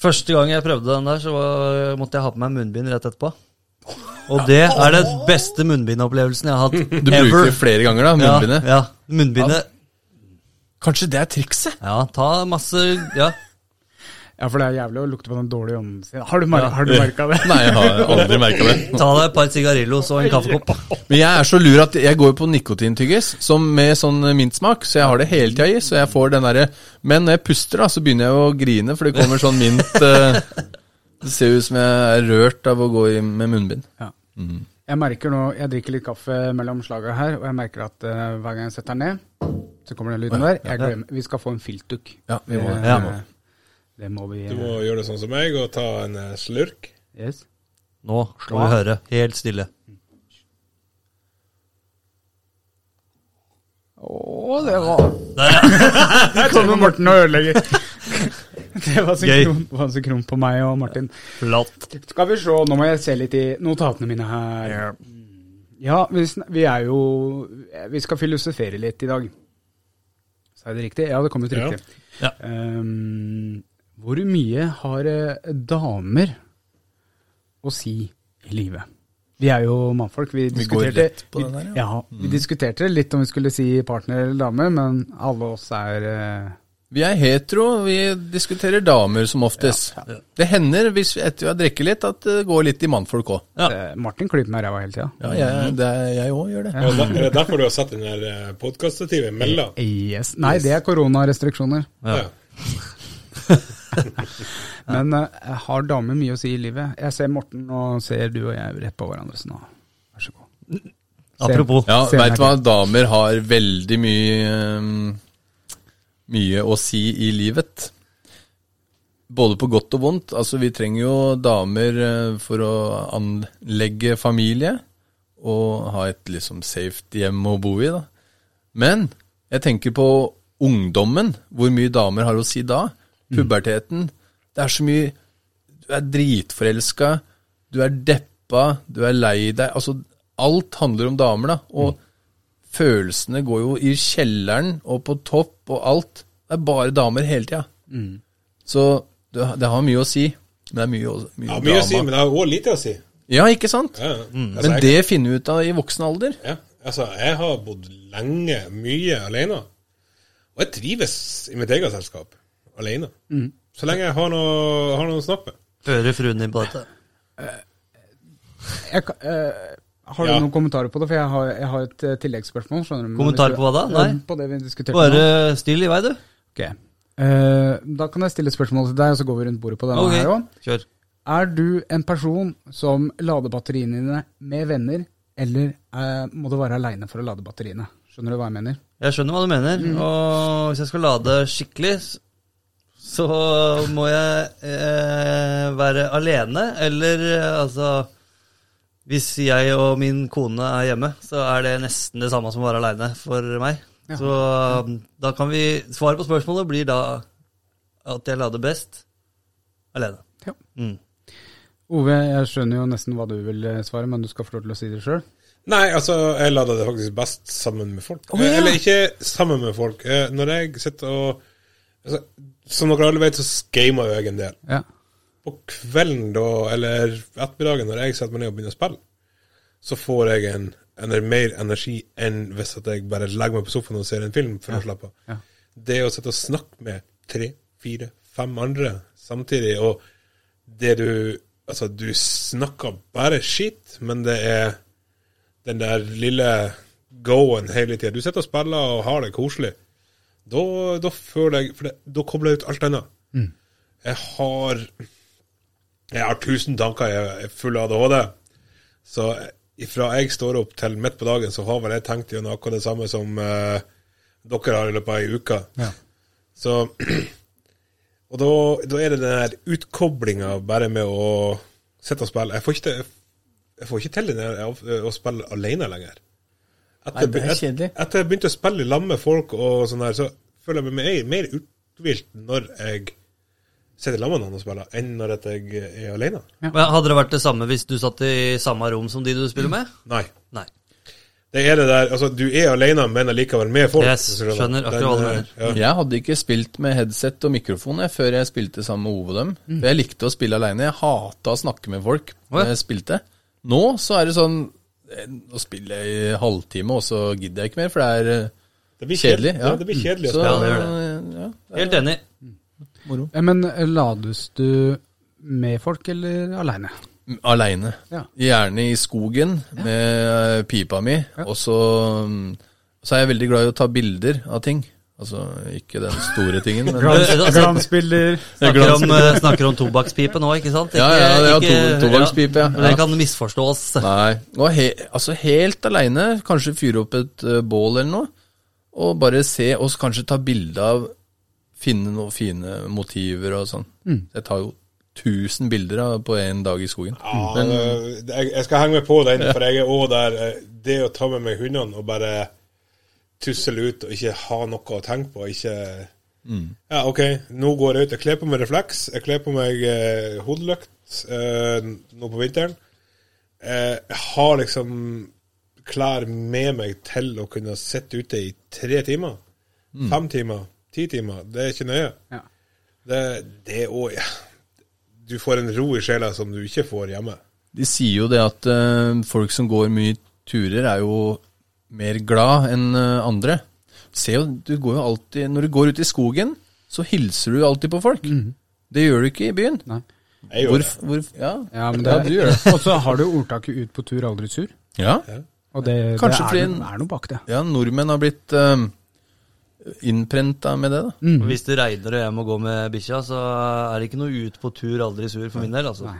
Speaker 4: Første gang jeg prøvde den der, så var, måtte jeg ha på meg munnbind rett etterpå. Og det er den beste munnbindopplevelsen jeg har hatt
Speaker 3: Du bruker det flere ganger, da, munnbindet.
Speaker 4: Ja, ja. Munnbindet.
Speaker 3: Kanskje det er trikset?
Speaker 4: Ja, ta masse Ja.
Speaker 2: Ja, for det er jævlig å lukte på den dårlige ånden sin. Har du, mer har du merka det?
Speaker 3: Nei, jeg har aldri merka det.
Speaker 4: Ta deg et par sigarillos og en kaffekopp.
Speaker 3: Men jeg er så lur at jeg går jo på nikotintyggis som med sånn mintsmak, så jeg har det hele tida i. Så jeg får den derre Men når jeg puster, da, så begynner jeg å grine, for det kommer sånn mint eh, Det ser ut som jeg er rørt av å gå i, med munnbind.
Speaker 2: Ja. Jeg merker nå, jeg drikker litt kaffe mellom slaga her, og jeg merker at eh, hver gang jeg setter den ned, så kommer den lyden der. Jeg glemmer, vi skal få en filtdukk.
Speaker 3: Ja, vi må det.
Speaker 2: det.
Speaker 4: Ja.
Speaker 2: eh, Det må vi.
Speaker 5: Du
Speaker 2: eh,
Speaker 5: må gjøre det sånn som meg og ta en eh, slurk.
Speaker 2: Yes.
Speaker 4: Nå skal vi høre. Helt stille.
Speaker 2: Å, det var
Speaker 4: Der,
Speaker 2: Der kommer Morten og ødelegger. Det var synkron, var synkron på meg og Martin.
Speaker 4: Flatt.
Speaker 2: Skal vi se, nå må jeg se litt i notatene mine her. Ja, vi, sn- vi er jo Vi skal filosofere litt i dag. Sa jeg det riktig? Ja, det kom ut
Speaker 5: Ja.
Speaker 2: riktig.
Speaker 4: Ja.
Speaker 2: Ehm, hvor mye har eh, damer å si i livet? Vi er jo mannfolk. Vi,
Speaker 3: Vi
Speaker 2: diskuterte,
Speaker 3: går rett på den der,
Speaker 2: ja. vi diskuterte litt om vi skulle si partner eller dame, men alle oss er eh,
Speaker 3: Vi er hetero, vi diskuterer damer som oftest. Det hender, hvis vi etter vi har drukket litt, at det går litt i mannfolk Mm. òg.
Speaker 4: Ja.
Speaker 2: eh, Martin klyper meg i ræva hele tida.
Speaker 3: Ja, jeg det- jeg òg gjør det.
Speaker 5: Og da, er det derfor du har satt den der eh, podkaststativet imellom?
Speaker 2: Yes. Nei, det er koronarestriksjoner.
Speaker 4: Ja.
Speaker 5: Ja.
Speaker 2: Men eh, har damer mye å si i livet? Jeg ser Morten, og ser du og jeg rett på hverandre, så nå vær så god.
Speaker 4: Apropos.
Speaker 3: Ja,
Speaker 2: Senere.
Speaker 3: veit du hva, damer har veldig mye ehm, Mye å si i livet. Både på godt og vondt. Altså, vi trenger jo damer eh, for å anlegge familie og ha et liksom safe hjem å bo i, da. Men jeg tenker på ungdommen, hvor mye damer har å si da. Puberteten. Det er så mye Du er dritforelska, du er deppa, du er lei deg. Altså, alt handler om damer, da. Og
Speaker 5: Mm.
Speaker 3: følelsene går jo i kjelleren og på topp og alt. Det er bare damer hele tida.
Speaker 5: Mm.
Speaker 3: Så det, det har mye å si. Men det er mye, å- mye,
Speaker 5: Ja, mye å si,
Speaker 3: drama.
Speaker 5: men det har òg lite å si.
Speaker 3: Ja, ikke sant?
Speaker 5: Ja, ja. Altså,
Speaker 3: Men
Speaker 5: jeg-
Speaker 3: det finner vi ut av i voksen alder.
Speaker 5: Ja, altså, jeg har bodd lenge, mye alene. Og jeg trives i mitt eget selskap, alene. Så lenge jeg har noe, har noe å snakke med.
Speaker 4: Hører fruen din på dette?
Speaker 2: Jeg, ka- eh, Har du
Speaker 5: Ja.
Speaker 2: noen kommentarer på det? For jeg har, jeg har et eh, tilleggsspørsmål. skjønner du. Men
Speaker 4: Kommentar
Speaker 2: hvis du-
Speaker 4: på hva da?
Speaker 2: Ja,
Speaker 4: Nei.
Speaker 2: På det vi diskuterte nå.
Speaker 4: Bare still i vei, du.
Speaker 2: Ok. Eh, da kan jeg stille et spørsmål til deg, og så går vi rundt bordet på denne
Speaker 4: Ok,
Speaker 2: her òg.
Speaker 4: kjør.
Speaker 2: Er du en person som lader batteriene dine med venner, eller eh, må du være aleine for å lade batteriene? Skjønner du hva jeg mener?
Speaker 4: Jeg skjønner hva du mener, og hvis jeg skal lade skikkelig, s- så må jeg eh, være alene, eller eh, altså Hvis jeg og min kone er hjemme, så er det nesten det samme som å være aleine for meg.
Speaker 2: Ja.
Speaker 4: Så um, da kan vi Svaret på spørsmålet blir da at jeg lader best alene.
Speaker 2: Ja.
Speaker 4: Mm.
Speaker 2: Ove, jeg skjønner jo nesten hva du vil eh, svare, men du skal få lov til å si det sjøl.
Speaker 5: Nei, altså, jeg lader det faktisk best sammen med folk.
Speaker 2: ja.
Speaker 5: Eh, Eller ikke sammen med folk. Eh, Når jeg sitter og altså, Som dere alle vet, så gamer jeg en del.
Speaker 2: Ja.
Speaker 5: På kvelden da, eller ettermiddagen, når jeg setter meg ned og begynner å spille, så får jeg en, en mer energi enn hvis at jeg bare legger meg på sofaen og ser en film for å slappe av.
Speaker 2: Ja.
Speaker 5: Det å sitte og snakke med tre, fire, fem andre samtidig, og det du Altså, du snakker bare skitt, men det er den der lille go-en hele tida. Du sitter og spiller og har det koselig. Da, da føler jeg For det, da kobler jeg ut alt annet.
Speaker 2: Mm.
Speaker 5: Jeg har jeg har tusen tanker, jeg er full av ADHD. Så ifra jeg står opp til midt på dagen, så har vel jeg tenkt gjennom akkurat det samme som eh, dere har i løpet av ei uke. Så Og da, da er det den her utkoblinga bare med å sitte og spille. Jeg får ikke, til- jeg får ikke til den her å- å spille alene lenger. Etter,
Speaker 7: Nei, det er kjedelig.
Speaker 5: et- etter jeg begynte å spille i lag med folk, og sånn her, så føler jeg meg mer, mer uthvilt når jeg sitter i lag med noen og spiller, enn når at jeg er alene.
Speaker 4: Men hadde det vært det samme hvis du satt i samme rom som de du spiller med?
Speaker 5: Nei.
Speaker 4: Nei.
Speaker 5: Det er det der, altså Du er alene, men allikevel med folk.
Speaker 4: Yes,
Speaker 5: hvis du skjønner.
Speaker 4: skjønner akkurat hva du mener.
Speaker 5: eh, Ja.
Speaker 3: Jeg hadde ikke spilt med headset og mikrofon jeg, før jeg spilte sammen med Ove og dem. For jeg likte å spille aleine. Jeg hata å snakke med folk
Speaker 4: Mm. Å, ja.
Speaker 3: når jeg spilte. Nå så er det sånn eh, Nå spiller jeg i halvtime, og så gidder jeg ikke mer, for det er eh,
Speaker 5: Det blir
Speaker 3: kjedelig.
Speaker 5: Ja. det blir kjedelig. å
Speaker 3: Så,
Speaker 4: Ja,
Speaker 5: spille.
Speaker 4: det gjør
Speaker 3: ja,
Speaker 4: Helt enig.
Speaker 2: Ja, Men eh, lades du med folk eller aleine?
Speaker 3: Aleine.
Speaker 2: Ja.
Speaker 3: Gjerne i skogen med eh, pipa mi. Og så, mm, så er jeg veldig glad i å ta bilder av ting. Altså ikke den store tingen, men
Speaker 2: Eh, altså,
Speaker 4: altså,
Speaker 2: Glansbilder.
Speaker 4: Snakker om, eh, snakker om tobakkspipe nå, ikke sant?
Speaker 3: Ja, ja, ja, to- tobakkspipe, ja.
Speaker 4: Men det
Speaker 3: Ja.
Speaker 4: kan misforstås.
Speaker 3: Nei. Og he, altså helt aleine, kanskje fyre opp et eh, bål eller noe, og bare se, og så kanskje ta bilde av Finne noen fine motiver og sånn. Jeg tar jo 1000 bilder av- på én dag i skogen.
Speaker 5: Ja, det- jeg, jeg skal henge meg på den, for jeg er òg der. eh, Det å ta med meg hundene og bare tussle ut og ikke ha noe å tenke på, ikke Ja, OK, nå går jeg ut. Jeg kler på meg refleks, jeg kler på meg eh, hodelykt eh, nå på vinteren. Eh, jeg har liksom klær med meg til å kunne sitte ute i tre timer. Fem timer, ti timer. Det er ikke nøye.
Speaker 2: Ja.
Speaker 5: Det, det er òg Du får en ro i sjela som du ikke får hjemme.
Speaker 3: De sier jo det at eh, folk som går mye turer, er jo mer glad enn eh, andre. Se jo, du går jo alltid, Når du går ut i skogen, så hilser du alltid på folk. Det gjør du ikke i byen.
Speaker 2: Nei.
Speaker 5: Jeg gjør
Speaker 3: Hvor,
Speaker 5: det.
Speaker 3: hvor, ja.
Speaker 2: Ja, men det
Speaker 3: Ja, du gjør det.
Speaker 2: Og så har du ordtaket 'ut på tur, aldri sur'.
Speaker 3: Ja.
Speaker 2: Og det, det
Speaker 3: Kanskje fordi
Speaker 2: er,
Speaker 3: en-
Speaker 2: noe, er noe bak det.
Speaker 3: ja, nordmenn har blitt um, innprenta med det. da.
Speaker 4: Og Hvis det regner og jeg må gå med bikkja, så er det ikke noe ut på tur, aldri sur for min del. altså.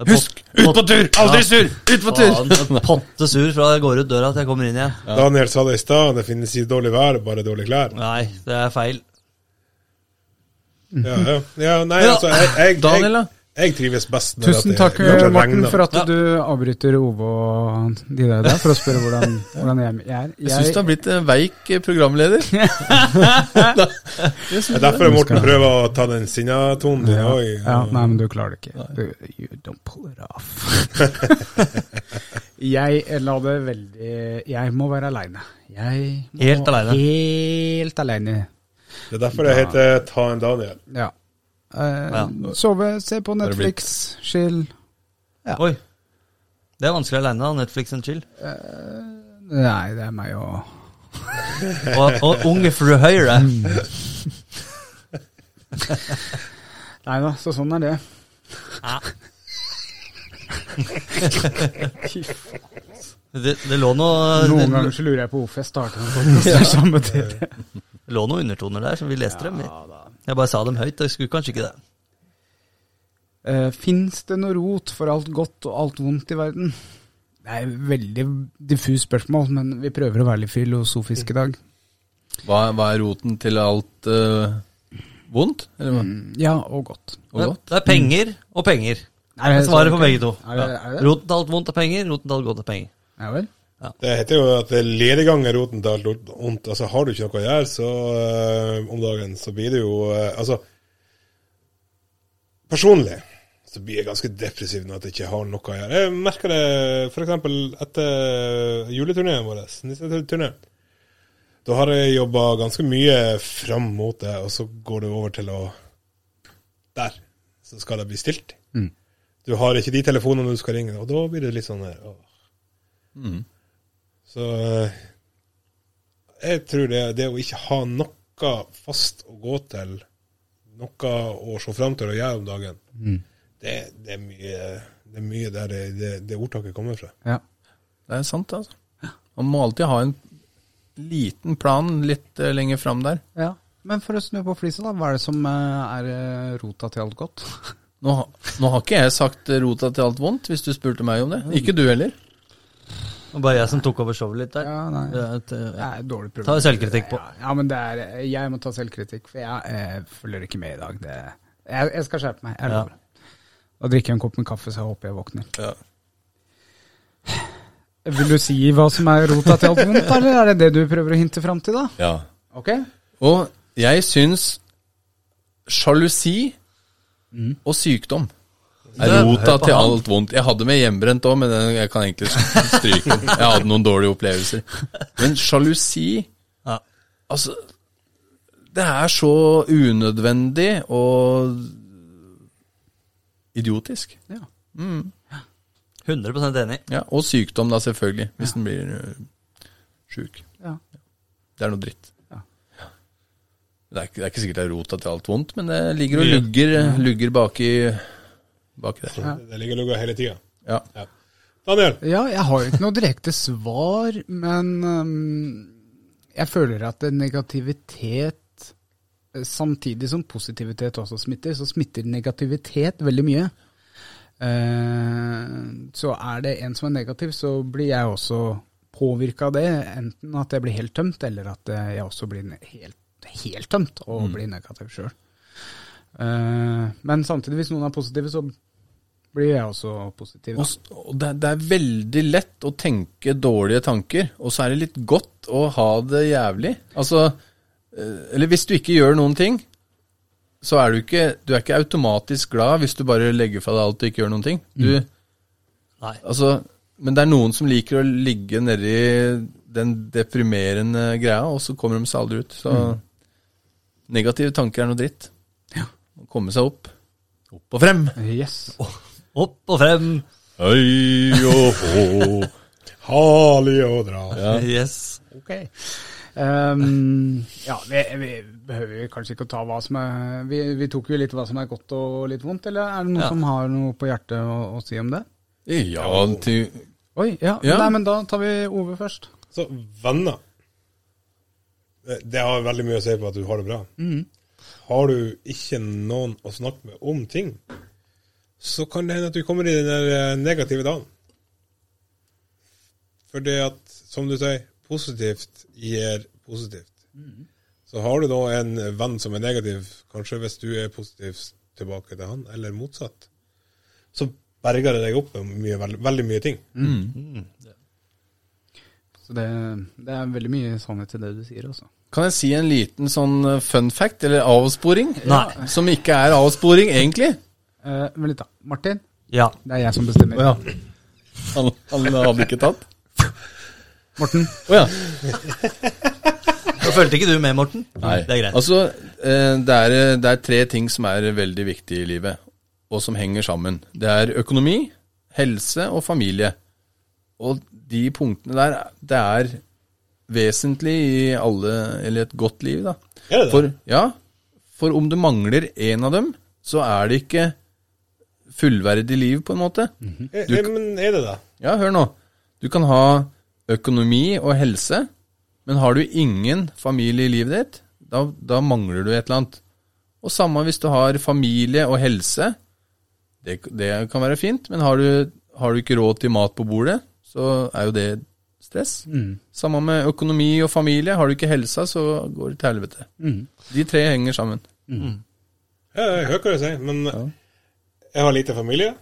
Speaker 4: Det er
Speaker 3: Husk, ut på tur! Aldri sur! Ut på tur!
Speaker 4: Faen, jeg er Potte sur fra jeg går ut døra til jeg kommer inn igjen.
Speaker 5: Daniel sa det i stad, det finnes ikke dårlig vær, bare dårlige klær.
Speaker 4: Nei, det er feil.
Speaker 5: Ja, ja. ja nei,
Speaker 4: Ja.
Speaker 5: altså, jeg, jeg,
Speaker 3: Daniel, da?
Speaker 5: jeg, jeg trives best når
Speaker 2: Tusen
Speaker 5: at det
Speaker 2: takk,
Speaker 5: kanskje
Speaker 2: Morten,
Speaker 5: regner.
Speaker 2: for at
Speaker 4: Ja.
Speaker 2: du avbryter Ove og de der, der for å spørre hvordan, hvordan jeg, jeg er.
Speaker 3: Jeg syns du har blitt en veik eh, programleder.
Speaker 5: Det er derfor jeg Morten prøver å ta den sinnatonen din
Speaker 2: ja,
Speaker 5: òg.
Speaker 2: ja, Nei, men du klarer det ikke. Du, you don't pull it off. jeg la det veldig Jeg må være aleine. Jeg må
Speaker 4: Helt alene.
Speaker 2: Helt aleine.
Speaker 5: Det er derfor det heter Ta en Daniel.
Speaker 2: Ja. Eh,
Speaker 4: Ja.
Speaker 2: Sove, se på
Speaker 3: er det
Speaker 2: Netflix, chill.
Speaker 4: Oi. Det er vanskelig aleine, da. Netflix and chill.
Speaker 2: Nei, det er meg og
Speaker 4: Og, og unge fru Høyre.
Speaker 3: Mm.
Speaker 2: Nei da, så sånn er det. Fy faen. altså.
Speaker 4: Det, det lå noe
Speaker 2: Noen
Speaker 4: det,
Speaker 2: ganger så lurer jeg på hvorfor jeg starta en podkast samtidig.
Speaker 4: Det lå noen undertoner der, som vi leste dem. i. Jeg bare sa dem høyt. Jeg skulle kanskje ikke det.
Speaker 2: Uh, Fins det noe rot for alt godt og alt vondt i verden? Det er et veldig diffus spørsmål, men vi prøver å være litt filosofiske i dag.
Speaker 3: Hva, hva er roten til alt eh, vondt? Eller hva?
Speaker 2: Ja, og godt.
Speaker 3: Og
Speaker 4: Men
Speaker 3: godt?
Speaker 4: Det er penger og penger.
Speaker 2: Er det
Speaker 4: Svaret
Speaker 2: Eh, så-
Speaker 4: på begge to.
Speaker 2: Er det- er det?
Speaker 4: Roten til alt vondt er penger, roten til alt godt er penger.
Speaker 2: Ja vel.
Speaker 5: Det heter jo at det er lediggang er roten til alt ondt. Altså, har du ikke noe å gjøre så, eh, om dagen, så blir det jo eh, Altså, personlig så blir jeg ganske depressiv når jeg ikke har noe å gjøre. Jeg merker det f.eks. etter juleturneen vår, nisseturneen. Da har jeg jobba ganske mye fram mot det, og så går det over til å Der. Så skal det bli stilt. Du har ikke de telefonene du skal ringe, og da blir det litt sånn her, åh. Så eh, jeg tror det, det å ikke ha noe fast å gå til, noe å se fram til å gjøre om dagen, det, det, er mye, det er mye der det, det, det ordtaket kommer fra.
Speaker 2: Ja.
Speaker 3: Det er sant, altså. Man må alltid ha en liten plan litt eh, lenger fram der.
Speaker 2: ja. Men for å snu på flisa, da. Hva er det som eh, er eh, rota til alt godt?
Speaker 3: Nå, ha- nå har ikke jeg sagt eh, rota til alt vondt, hvis du spurte meg om det. Ikke du heller.
Speaker 4: Det var bare jeg som tok over showet litt der.
Speaker 2: Ja, nei.
Speaker 4: Det er et, eh,
Speaker 2: Det er dårlig problem.
Speaker 4: Ta selvkritikk på.
Speaker 2: Ja, ja, men det er, eh, jeg må ta selvkritikk, for jeg eh, følger ikke med i dag. Det, jeg, jeg skal skjerpe meg. Jeg
Speaker 4: Ja.
Speaker 2: lover. Og drikke en kopp med kaffe, så jeg håper jeg våkner.
Speaker 3: Ja.
Speaker 2: Vil du si hva som er rota til alt vondt, eller er det det du prøver å hinte fram til, da? Ok?
Speaker 3: Og jeg syns sjalusi og sykdom er
Speaker 4: Det-
Speaker 3: rota
Speaker 4: Mm. hør på
Speaker 3: til
Speaker 4: han.
Speaker 3: alt vondt. Jeg hadde med hjemmebrent òg, men den- jeg kan egentlig stryke den. Jeg hadde noen dårlige opplevelser. Men sjalusi
Speaker 4: Ja.
Speaker 3: Altså, det er så unødvendig og idiotisk.
Speaker 4: 100 enig.
Speaker 3: Ja, og sykdom, da, selvfølgelig. Hvis den blir ø, sjuk.
Speaker 2: Ja.
Speaker 3: Det er noe dritt.
Speaker 2: Ja.
Speaker 3: Det, er ikke, det er ikke sikkert det er rota til alt vondt, men det ligger og
Speaker 4: Mye.
Speaker 3: lugger, øh, lugger baki, baki der.
Speaker 5: Det, det ligger lugga hele tida.
Speaker 3: Ja.
Speaker 5: Ja. Daniel,
Speaker 2: Ja, jeg har jo ikke noe direkte svar, men øhm, jeg føler at negativitet eh, Samtidig som positivitet også smitter, så smitter negativitet veldig mye. Eh, så er det en som er negativ, så blir jeg også påvirka av det. Enten at jeg blir helt tømt, eller at eh, jeg også blir ne- helt, helt tømt og blir negativ sjøl. men samtidig, hvis noen er positive, så blir jeg også positiv. da.
Speaker 3: Og, s- og det, er- det er veldig lett å tenke dårlige tanker, og så er det litt godt å ha det jævlig. Altså, eh, eller hvis du ikke gjør noen ting, så er du ikke, du er ikke automatisk glad hvis du bare legger fra deg alt og ikke gjør noen ting. Du,
Speaker 4: Nei.
Speaker 3: Altså, men det er noen som liker å ligge nedi den deprimerende greia, og så kommer de seg aldri ut. Så negative tanker er noe dritt. Å komme seg opp. Opp og frem.
Speaker 2: Yes.
Speaker 4: Opp og frem.
Speaker 3: Hei og hå.
Speaker 5: hali og dra.
Speaker 4: Yes.
Speaker 2: Ok. Ehm, ja, vi, vi behøver kanskje ikke å ta hva som er vi, vi tok jo litt hva som er godt og litt vondt, eller er det noen
Speaker 4: Ja.
Speaker 2: som har noe på hjertet å, å si om det?
Speaker 3: Ja, til,
Speaker 2: Oi, ja.
Speaker 3: Ja.
Speaker 2: Nei, men da tar vi Ove først.
Speaker 5: Så venner Det- Det har veldig mye å si på at du har det bra. Har du ikke noen å snakke med om ting, så kan det hende at du kommer i den der eh, negative dagen. For det at, som du sier, positivt gir positivt. Så har du da en venn som er negativ, kanskje hvis du er positiv tilbake til han, eller motsatt, så berger det deg opp med mye, veldig, veldig mye ting.
Speaker 2: Så det, det er veldig mye sannhet i det du sier, altså.
Speaker 3: kan jeg si en liten sånn eh, fun fact, eller avsporing?
Speaker 4: Nei.
Speaker 3: Som ikke er avsporing, egentlig.
Speaker 2: Eh, Vent litt, da. Martin,
Speaker 4: Ja.
Speaker 2: det er jeg som bestemmer.
Speaker 3: Han, han hadde ikke tatt.
Speaker 2: Morten.
Speaker 3: Å ja.
Speaker 4: Da fulgte ikke du med, Morten. Det er greit.
Speaker 3: Altså, eh, det er, det er tre ting som er veldig viktige i livet, og som henger sammen. Det er økonomi, helse og familie. Og de punktene der, det er vesentlig i alle, eller et godt liv, da.
Speaker 5: Er det det?
Speaker 3: For, ja, for om du mangler én av dem, så er det ikke fullverdig liv, på en måte.
Speaker 5: Eh, eh, Men er det det?
Speaker 3: Ja, hør nå. Du kan ha økonomi og helse, men har du ingen familie i livet ditt, da, da mangler du et eller annet. Og samme hvis du har familie og helse, det, det kan være fint, men har du, har du ikke råd til mat på bordet, så er jo det stress.
Speaker 2: Mm.
Speaker 3: Samme med økonomi og familie, har du ikke helsa, så går det til helvete.
Speaker 2: Mm.
Speaker 3: De tre henger sammen.
Speaker 5: Ja, jeg hører hva du sier, men jeg har lite familie.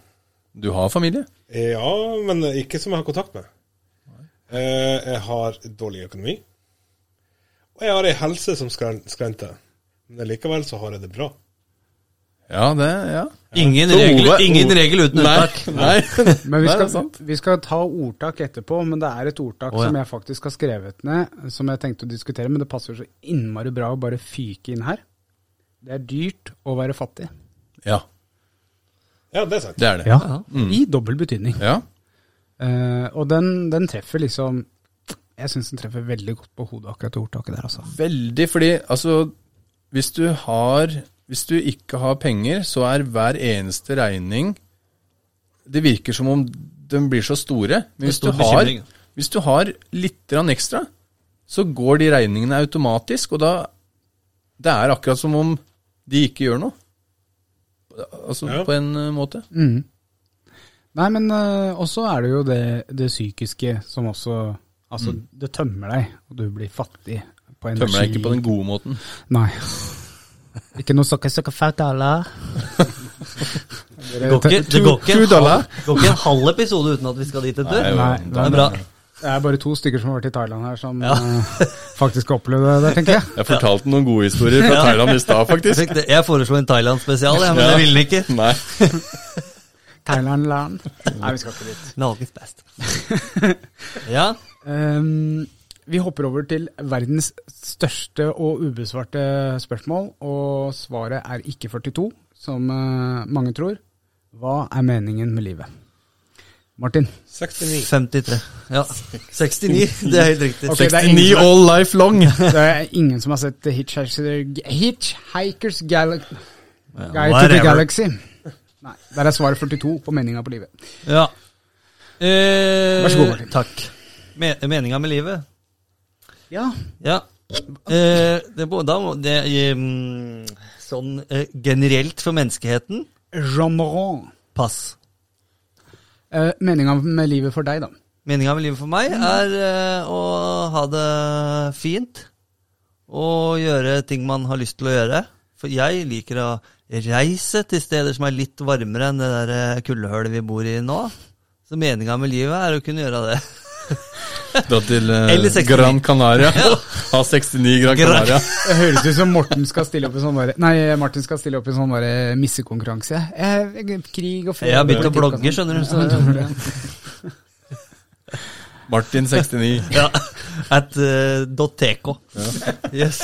Speaker 3: Du har familie?
Speaker 5: Ja, men ikke som jeg har kontakt med. Eh, Jeg har dårlig økonomi. Og jeg har ei helse som skren- skrenter. Men likevel så har jeg det bra.
Speaker 3: Ja, det ja.
Speaker 4: Ingen,
Speaker 3: Så
Speaker 4: regel,
Speaker 3: Ove-
Speaker 4: ingen
Speaker 3: Ove-
Speaker 4: regel uten unntak.
Speaker 3: Nei, nei.
Speaker 2: Men vi
Speaker 3: Nei, det er
Speaker 2: skal,
Speaker 3: sant.
Speaker 2: vi skal ta ordtak etterpå, men det er et ordtak
Speaker 4: Å, ja.
Speaker 2: som jeg faktisk har skrevet ned, som jeg tenkte å diskutere, men det passer jo så innmari bra å bare fyke inn her. Det er dyrt å være fattig.
Speaker 3: Ja,
Speaker 5: Ja, det er sant.
Speaker 3: det er det.
Speaker 2: Ja,
Speaker 4: Mm.
Speaker 2: I dobbel betydning.
Speaker 3: Ja.
Speaker 2: Eh, og den, den treffer liksom Jeg syns den treffer veldig godt på hodet, akkurat det ordtaket der, altså.
Speaker 3: Veldig, fordi altså Hvis du har Hvis du ikke har penger, så er hver eneste regning Det virker som om de blir så store. Men hvis
Speaker 4: stor
Speaker 3: du har,
Speaker 4: bekymring.
Speaker 3: hvis du har litt grann ekstra, så går de regningene automatisk, og da Det er akkurat som om de ikke gjør noe. Altså
Speaker 5: Ja.
Speaker 3: på en eh, måte.
Speaker 2: Mm. Nei, men eh, også er det jo det, det psykiske som også Altså,
Speaker 4: Mm.
Speaker 2: det tømmer deg, og du blir fattig på energi.
Speaker 3: Tømmer deg ikke på den gode måten.
Speaker 2: Nei. Ikke noe sukker, sukker, fat dollar.
Speaker 4: Det går ikke, det går ikke,
Speaker 3: Two
Speaker 4: en,
Speaker 3: dollar.
Speaker 4: halv, det går ikke en halv episode uten at vi skal dit en tur.
Speaker 3: Nei,
Speaker 2: Nei,
Speaker 4: Det
Speaker 2: nei,
Speaker 4: er bra.
Speaker 2: nei. Det er bare to stykker som har vært i Thailand her, som eh, faktisk har opplevd det, tenker jeg.
Speaker 3: Jeg fortalte noen gode historier fra Thailand i stad,
Speaker 4: Jeg
Speaker 3: faktisk.
Speaker 4: tenkte- Jeg foreslo en Thailand-spesial, jeg, men
Speaker 3: Ja.
Speaker 4: det ville den ikke.
Speaker 3: Nei.
Speaker 2: Thailand-land. Nei, vi skal ikke dit.
Speaker 4: Norges best. Ja,
Speaker 2: Ehm, vi hopper over til verdens største og ubesvarte spørsmål, og svaret er ikke 42, som eh, mange tror. Hva er meningen med livet? Martin.
Speaker 5: 69.
Speaker 4: 53. Ja, 69. Det er helt riktig.
Speaker 2: Ok, det er
Speaker 3: 69
Speaker 2: ingen-
Speaker 3: all life long.
Speaker 2: Det er ingen som har sett Hitchhiker- Hitchhiker's Gal Guide to the
Speaker 4: Whatever.
Speaker 2: Galaxy. Nei, der er svaret 42 på meninga på livet.
Speaker 4: Ja. Eh,
Speaker 2: Vær så god, Martin.
Speaker 4: Takk. Me meninga med livet?
Speaker 2: Ja.
Speaker 4: Ja. Eh, det, må- da må det eh, mm, Sånn eh, generelt for menneskeheten
Speaker 2: Jean Morin.
Speaker 4: pass.
Speaker 2: Eh, meninga med livet for deg, da?
Speaker 4: Meninga med livet for meg er eh, å ha det fint og gjøre ting man har lyst til å gjøre. For jeg liker å reise til steder som er litt varmere enn det der eh, kuldehølet vi bor i nå. Så meninga med livet er å kunne gjøre det.
Speaker 3: Dra til eh,
Speaker 4: Eller 69.
Speaker 3: Gran Canaria. Ha 69 Gran
Speaker 4: Gran-
Speaker 3: Canaria.
Speaker 2: Det høres ut som Morten skal stille opp i sånn bare Nei, Martin skal stille opp i sånn bare missekonkurranse. Eh, krig og fred
Speaker 4: Jeg har begynt å
Speaker 2: politikk og
Speaker 4: blogge,
Speaker 2: sånn.
Speaker 4: skjønner du. Så,
Speaker 3: Martin 69.
Speaker 4: ja, at eh, .tk. Yes.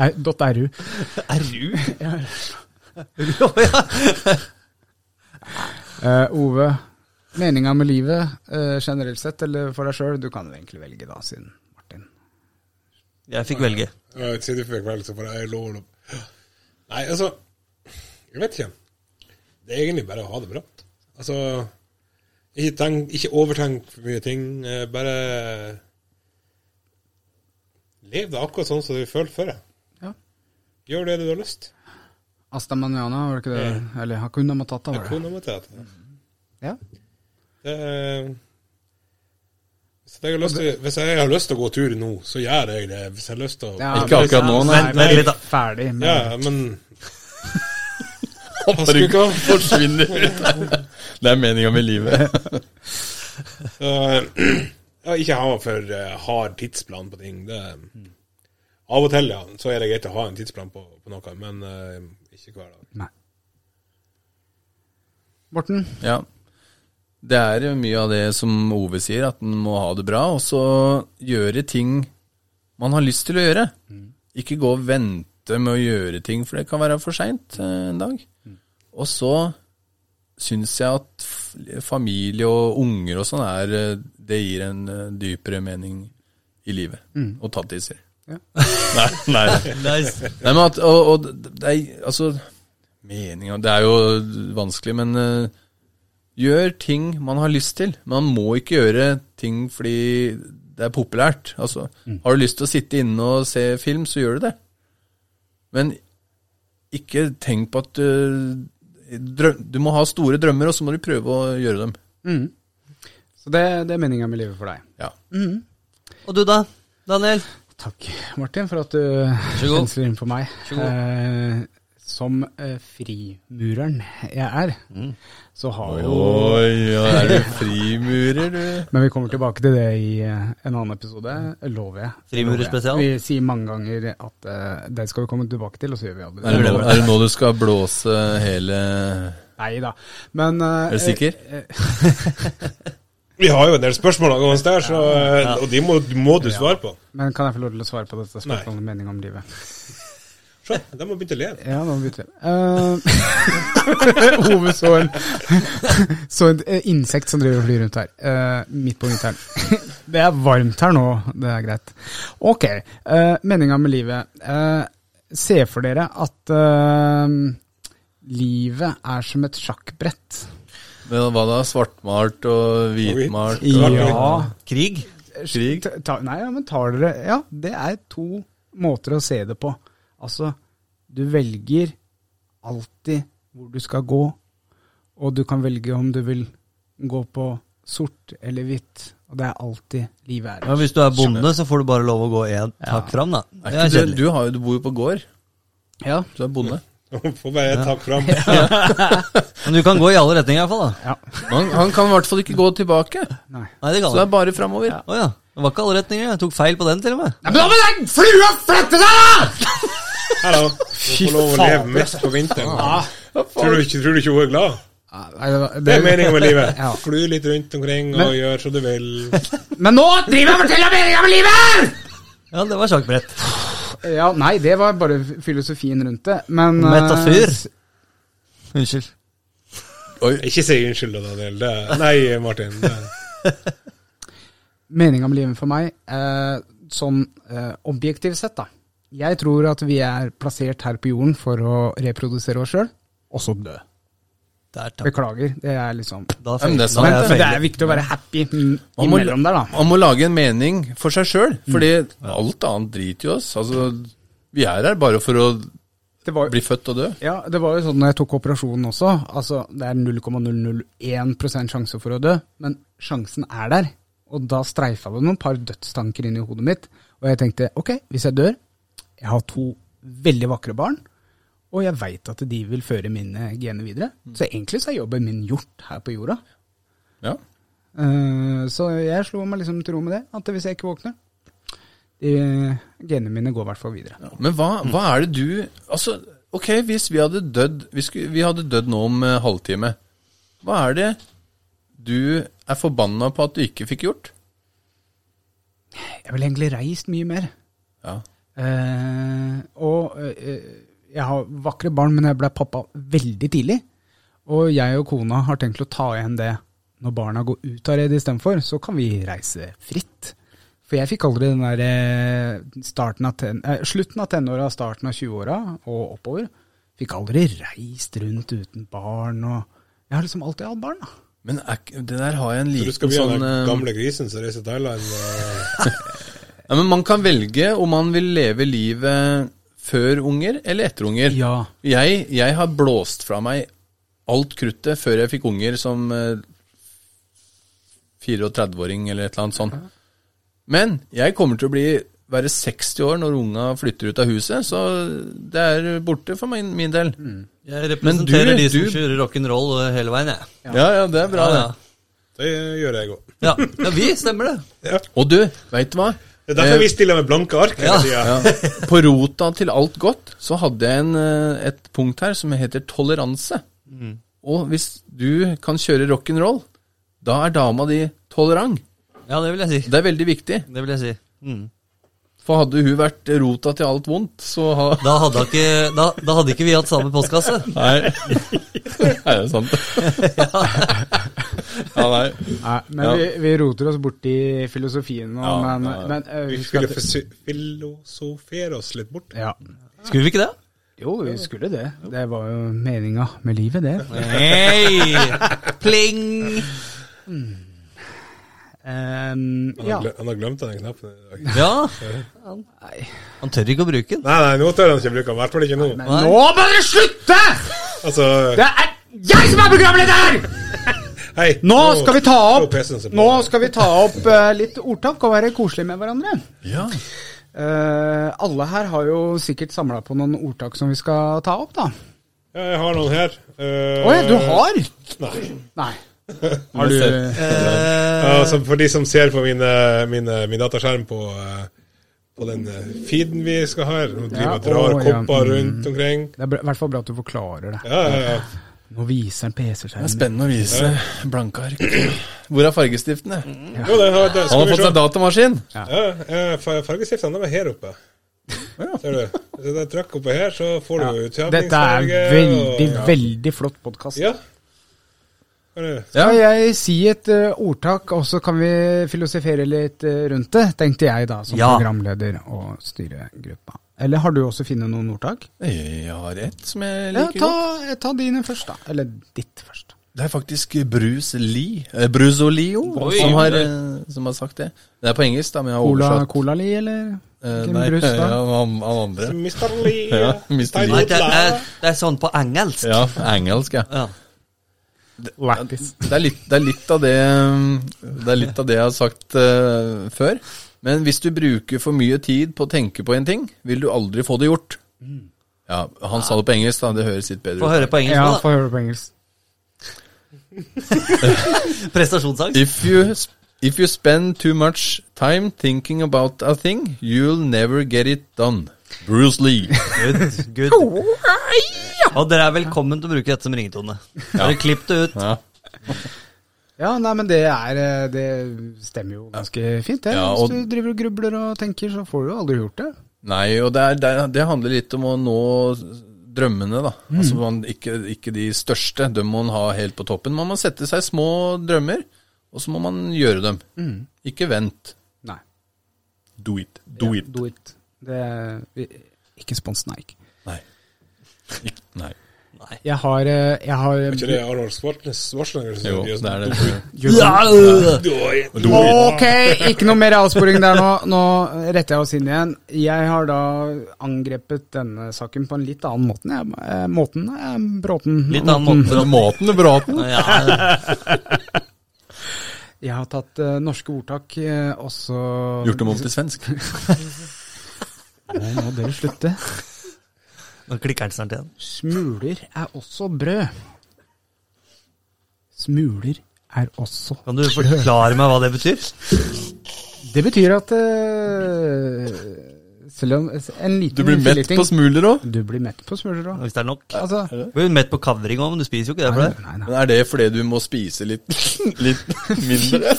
Speaker 2: Nei, dot .ru.
Speaker 4: Er du? Å, ja.
Speaker 2: Eh, Ove, meninga med livet eh, generelt sett, eller for deg sjøl? Du kan jo egentlig velge, da, siden Martin
Speaker 4: Jeg fikk velge.
Speaker 5: Ja, jeg sier det for kveld, så bare jeg lover det. Nei, altså Jeg vet ikke. Det er egentlig bare å ha det bra. Altså Ikke, tenk, ikke overtenk for mye ting. eh, Bare Lev det akkurat sånn som du føler for det.
Speaker 2: Ja.
Speaker 5: Gjør det du har lyst.
Speaker 2: Asta Manana, var det ikke det? Eller Hakuna Matata, var det?
Speaker 5: Kona må til det.
Speaker 2: Ja.
Speaker 5: Det er- Hvis jeg, har lyst til, hvis jeg har lyst til å gå tur nå, så gjør jeg det. Hvis jeg har lyst til å
Speaker 2: Ja,
Speaker 3: Ikke akkurat nå, nei.
Speaker 4: Vent litt, da.
Speaker 2: Ferdig med
Speaker 5: Ja, men
Speaker 3: Hopper ikke og forsvinner ut. Det er meninga med livet.
Speaker 5: øh, ja, Ikke ha for eh, hard tidsplan på ting. Det, av og til, ja, så er det greit å ha en tidsplan på, på noe, men eh, ikke hver dag.
Speaker 2: Nei. Morten?
Speaker 3: Ja. Det er jo mye av det som Ove sier, at en må ha det bra, og så gjøre ting man har lyst til å gjøre. Ikke gå og vente med å gjøre ting, for det kan være for seint eh, en dag. Og så syns jeg at f- familie og unger og sånn er eh, Det gir en eh, dypere mening i livet. Og tattiser.
Speaker 2: Ja.
Speaker 3: nei, nei.
Speaker 4: Nice.
Speaker 3: Nei, men at, og, og det er, altså, meninga, det er jo vanskelig, men eh, Gjør ting man har lyst til. Man må ikke gjøre ting fordi det er populært. Altså, Har du lyst til å sitte inne og se film, så gjør du det. Men ikke tenk på at du drø- Du må ha store drømmer, og så må du prøve å gjøre dem.
Speaker 2: Så det, det er meninga med livet for deg.
Speaker 3: Ja.
Speaker 4: Og du da, Daniel?
Speaker 2: Takk, Martin, for at du
Speaker 4: så god.
Speaker 2: pensler inn for meg.
Speaker 4: så god.
Speaker 2: Eh, som eh, frimureren jeg er, så har jo
Speaker 3: Oi, ja, er du frimurer, du?
Speaker 2: Men vi kommer tilbake til det i eh, en annen episode, lover jeg.
Speaker 4: Frimurer
Speaker 2: Lover jeg.
Speaker 4: spesial.
Speaker 2: Vi sier mange ganger at eh, det skal vi komme tilbake til, og så gjør vi aldri
Speaker 3: Er det, nå, er det nå du skal blåse hele
Speaker 2: Nei da. Men eh,
Speaker 3: Er du sikker?
Speaker 5: Vi har jo en del spørsmål angående oss der, så, eh, og de må, må du svare på.
Speaker 2: eh, Men kan jeg få lov til å svare på dette
Speaker 5: Nei.
Speaker 2: spørsmålet om mening om livet?
Speaker 5: Se, de har begynt å leve.
Speaker 2: Ja, nå bytter vi. Eh, Ove så en, så et eh, insekt som driver og flyr rundt her, eh, midt på vinteren. det er varmt her nå, det er greit. Ok, uh, meninga med livet. Eh, se for dere at eh, livet er som et sjakkbrett.
Speaker 3: Men hva da? Svartmalt og hvitmalt? og-
Speaker 2: Ja.
Speaker 4: Krig?
Speaker 3: Krig?
Speaker 2: Ta- ta, nei, ja, men tar dere Ja, det er to måter å se det på. Altså, du velger alltid hvor du skal gå, og du kan velge om du vil gå på sort eller hvitt, og det er alltid livet er.
Speaker 4: Ja, hvis du er bonde, så får du bare lov å gå én takk fram, da.
Speaker 3: Er
Speaker 4: Det
Speaker 3: ikke
Speaker 4: er
Speaker 3: du,
Speaker 4: kjedelig.
Speaker 3: du, har, jo- du bor jo på gård.
Speaker 2: Ja.
Speaker 3: Du er bonde.
Speaker 5: Får bare et tak fram.
Speaker 4: Men du kan gå i alle retninger, iallfall. da.
Speaker 3: Han, han kan i hvert fall ikke gå tilbake.
Speaker 2: Nei.
Speaker 4: Nei, det
Speaker 3: Så det
Speaker 4: kan
Speaker 3: er
Speaker 4: du.
Speaker 3: bare framover.
Speaker 4: Å ja. Det var ikke alle retninger. Jeg tok feil på den, til og med.
Speaker 2: men da må den flua flette seg, da!
Speaker 5: Her, da. Du får lov å leve midt på vinteren. Tror du ikke, tror du ikke hun er glad?
Speaker 2: Nei, det, var-
Speaker 5: Det er meninga med livet.
Speaker 2: Ja.
Speaker 5: Fly litt rundt omkring og gjør som du vil.
Speaker 2: Men nå driver jeg og forteller om meninga med livet!
Speaker 4: Ja, det var sjakkbrett.
Speaker 2: Ja, nei, det var bare filosofien rundt det, men eh,
Speaker 4: Metafyr. Unnskyld.
Speaker 5: Ikke si unnskyld, da, Daniel. Det, nei, Martin. Det,
Speaker 2: meninga med livet for meg, eh, sånn eh, objektivt sett, da. Jeg tror at vi er plassert her på jorden for å reprodusere oss sjøl, og så dø.
Speaker 4: Der, takk.
Speaker 2: Beklager, det er liksom
Speaker 4: Da
Speaker 3: Ja, men det er
Speaker 4: feil-
Speaker 3: sant,
Speaker 4: da
Speaker 2: Men
Speaker 4: er jeg
Speaker 2: det er
Speaker 4: feil.
Speaker 2: viktig å være happy mm,
Speaker 3: Man må,
Speaker 2: imellom der, da. Mm.
Speaker 3: man må lage en mening for seg sjøl, fordi alt annet driter jo oss. Altså, vi er her bare for å
Speaker 2: Det var,
Speaker 3: bli født og dø.
Speaker 2: ja, det var jo sånn når jeg tok operasjonen også. Altså, det er 0,001 sjanse for å dø, men sjansen er der. Og da streifa det noen par dødstanker inn i hodet mitt. Og jeg tenkte ok, hvis jeg dør Jeg har to veldig vakre barn. Og jeg veit at de vil føre mine gener videre. Så egentlig så er jobben min gjort her på jorda.
Speaker 3: Ja.
Speaker 2: Eh, så jeg slo meg liksom til ro med det. At hvis jeg ikke våkner de, Genene mine går i hvert fall videre.
Speaker 3: Men hva, hva er det du Altså, ok, hvis vi hadde dødd Vi, skulle, vi hadde dødd nå om eh, halvtime. Hva er det du er forbanna på at du ikke fikk gjort?
Speaker 2: Jeg ville egentlig reist mye mer.
Speaker 3: Ja.
Speaker 2: Eh, og eh, jeg har vakre barn, men jeg ble pappa veldig tidlig. Og jeg og kona har tenkt å ta igjen det når barna går ut av redet istedenfor. Så kan vi reise fritt. For jeg fikk aldri den der eh, starten av ten, eh, slutten av tenåra, starten av 20-åra og oppover. Fikk aldri reist rundt uten barn. og Jeg har liksom alltid hatt barn. da.
Speaker 3: Men er, ikke- det der har jeg en
Speaker 5: du
Speaker 3: liten
Speaker 5: skal bli
Speaker 3: sånn
Speaker 5: den
Speaker 3: eh,
Speaker 5: gamle grisen som reiser til Thailand. og-
Speaker 3: Ja, men Man kan velge om man vil leve livet før unger eller etter unger.
Speaker 2: Ja.
Speaker 3: Jeg, jeg har blåst fra meg alt kruttet før jeg fikk unger som eh, 34-åring eller et eller annet sånt. Men jeg kommer til å bli være 60 år når unga flytter ut av huset, så det er borte for min, min del.
Speaker 4: Jeg
Speaker 3: Men du-
Speaker 4: representerer de som
Speaker 3: du-
Speaker 4: kjører rock'n'roll eh, hele veien, jeg.
Speaker 3: Ja, ja, det er bra,
Speaker 4: Ja,
Speaker 5: Det gjør jeg òg.
Speaker 4: ja. ja. ja, vi stemmer det.
Speaker 3: det. Og du, veit du hva? Eh,
Speaker 5: Det er derfor vi stiller med blanke ark hele
Speaker 4: Ja.
Speaker 5: tida.
Speaker 3: Ja. På rota til alt godt så hadde jeg en, eh, et punkt her som heter toleranse. Og hvis du kan kjøre rock'n'roll, da er dama di tolerant.
Speaker 4: Ja, det vil jeg si.
Speaker 3: Det er veldig viktig.
Speaker 4: Det vil jeg si. Mm.
Speaker 3: For hadde hun vært rota til alt vondt, så ha
Speaker 4: Da, hadde jeg ikke, da, da hadde ikke vi hatt samme postkasse.
Speaker 3: Nei. er det sant? ja, nei.
Speaker 2: Nei, men
Speaker 3: Ja.
Speaker 2: vi, vi roter oss bort i filosofien nå.
Speaker 3: Ja,
Speaker 2: men,
Speaker 3: ja, ja.
Speaker 2: men eh,
Speaker 5: Vi
Speaker 2: husk
Speaker 5: skulle
Speaker 2: at-
Speaker 5: fisi- filosofere oss litt bort.
Speaker 2: ja.
Speaker 4: Skulle vi ikke det?
Speaker 2: Jo, vi skulle det. Det var jo meninga med livet, det.
Speaker 4: Nei! Pling!
Speaker 2: Ehm,
Speaker 5: Han,
Speaker 2: ja.
Speaker 5: har gle- han har glemt den knappen i dag.
Speaker 4: Ja. Han, han tør ikke å bruke den.
Speaker 5: Nei, nei, nå tør han ikke bruke den. I hvert fall ikke nå.
Speaker 2: Men nå må dere slutte!
Speaker 5: Altså,
Speaker 2: Det er jeg som er programleder!
Speaker 5: hei.
Speaker 2: Nå skal vi ta
Speaker 5: nå
Speaker 2: opp,
Speaker 5: PC-en seg på.
Speaker 2: nå skal vi ta opp eh, litt ordtak og være koselige med hverandre.
Speaker 3: Ja.
Speaker 2: Eh, alle her har jo sikkert samla på noen ordtak som vi skal ta opp, da.
Speaker 5: Ja, Jeg har noen her. Uh,
Speaker 2: Å ja, du har?
Speaker 5: Nei.
Speaker 2: Nei. Har du
Speaker 5: Ja, altså, for de som ser på mine, mine, min dataskjerm på, eh, på den eh, feeden vi skal ha her, og driver
Speaker 2: Ja,
Speaker 5: og drar
Speaker 2: å, ja. Mm.
Speaker 5: kopper rundt omkring.
Speaker 2: Det er bra- i hvert fall bra at du forklarer det.
Speaker 5: Ja, ja, ja.
Speaker 2: Nå viser han
Speaker 3: Det er
Speaker 2: PC-skjermen.
Speaker 3: spennende å vise blanke ark. Hvor er fargestiftene?
Speaker 5: Jo, det, har- det,
Speaker 3: Han
Speaker 5: skal
Speaker 3: har
Speaker 5: vi
Speaker 3: fått
Speaker 5: se.
Speaker 3: seg datamaskin!
Speaker 5: Ja, eh, fa- Fargestiftene de er her oppe. Ser du? Hvis jeg trykker oppå her, så får du
Speaker 2: Ja.
Speaker 5: utjevningsfarge.
Speaker 2: Dette er en veldig, veldig flott podkast.
Speaker 5: Ja. Hva er det?
Speaker 3: Ja.
Speaker 2: Skal jeg si et eh, ordtak, og så kan vi filosofere litt eh, rundt det, tenkte jeg da, som
Speaker 4: Ja.
Speaker 2: programleder og styregruppa. Eller har du også funnet noen ordtak?
Speaker 3: Jeg har ett som jeg
Speaker 2: Ja,
Speaker 3: liker
Speaker 2: ta,
Speaker 3: godt.
Speaker 2: eh, ta dine først, da. Eller ditt først.
Speaker 3: Det er faktisk Bruce Lee, eh, Bruzolio,
Speaker 4: Oi.
Speaker 3: som, har, eh, som har sagt det. Det er på engelsk, da, men jeg har
Speaker 2: Cola,
Speaker 3: oversatt.
Speaker 2: cola Li, eller?
Speaker 3: Eh,
Speaker 2: Hvem
Speaker 3: nei,
Speaker 2: brus,
Speaker 3: ja,
Speaker 2: da?
Speaker 3: han, han andre.
Speaker 5: Mr. Lee.
Speaker 3: Ja, Mr. Lee.
Speaker 4: Nei, det, er, det er sånn på engelsk.
Speaker 3: Ja, engelsk, ja.
Speaker 4: Ja.
Speaker 2: Lættis.
Speaker 3: Det er, litt, det er litt av det um, Det er litt av det jeg har sagt eh, før. Men hvis du bruker for mye tid på å tenke på en ting, vil du aldri få det gjort. Ja, Han sa det på engelsk, da. Det høres litt
Speaker 4: Få
Speaker 3: bedre ut.
Speaker 4: høre på engelsk
Speaker 2: Ja,
Speaker 4: nå,
Speaker 2: Mm. få høre på engelsk.
Speaker 4: da. Prestasjonsangst.
Speaker 3: If you, s- if you spend too much time thinking about a thing, you'll never get it done. Bruce Lee.
Speaker 4: Good, good. Og dere er velkommen til å bruke dette som ringetone. Bare klipp det ut.
Speaker 3: Ja.
Speaker 2: Ja, nei, men det er eh, Det stemmer jo ganske fint, det.
Speaker 3: Ja, og-
Speaker 2: Hvis du driver og grubler og tenker, så får du jo aldri gjort det.
Speaker 3: Nei, og det, er, det, er, det handler litt om å nå drømmene, da.
Speaker 2: Mm.
Speaker 3: Altså man, ikke, ikke de største, dem må man ha helt på toppen. Man må sette seg små drømmer, og så må man gjøre dem.
Speaker 2: Mm.
Speaker 3: Ikke vent.
Speaker 2: Nei.
Speaker 3: Do it. Do
Speaker 2: Ja,
Speaker 3: it.
Speaker 2: Do it. Det er, vi- ikke spons Nike.
Speaker 3: Nei. Ik nei.
Speaker 4: Nei.
Speaker 2: Jeg har, eh, jeg har
Speaker 5: Er ikke det Arnold Schwarzenegger Schwarzenegger som
Speaker 3: Jo,
Speaker 5: gjør
Speaker 3: det er
Speaker 5: sånn?
Speaker 3: det.
Speaker 4: Ja, øh.
Speaker 5: Du-
Speaker 2: Ok, ikke noe mer avsporing der nå. Nå retter jeg oss inn igjen. Jeg har da angrepet denne saken på en litt annen måte. Jeg, eh, måten eh, Bråten.
Speaker 4: Litt annen måte.
Speaker 3: Maten er braten.
Speaker 4: Ja,
Speaker 2: Jeg har tatt eh, norske ordtak eh, også
Speaker 3: Gjort dem om til svensk.
Speaker 2: Nei, nå må dere slutte.
Speaker 4: nå klikker den snart igjen.
Speaker 2: Smuler er også brød. Smuler er også
Speaker 4: Kan du forklare meg hva det betyr?
Speaker 2: Det betyr at eh, selv om en liten
Speaker 3: Du blir mett
Speaker 2: filleting-
Speaker 3: på smuler òg.
Speaker 2: Du blir mett på smuler òg.
Speaker 4: Hvis det er nok.
Speaker 2: Altså,
Speaker 4: Du blir mett på kavring òg, men du spiser jo ikke det for
Speaker 2: nei,
Speaker 4: det.
Speaker 2: nei, nei.
Speaker 3: Men er det fordi du må spise litt, litt mindre?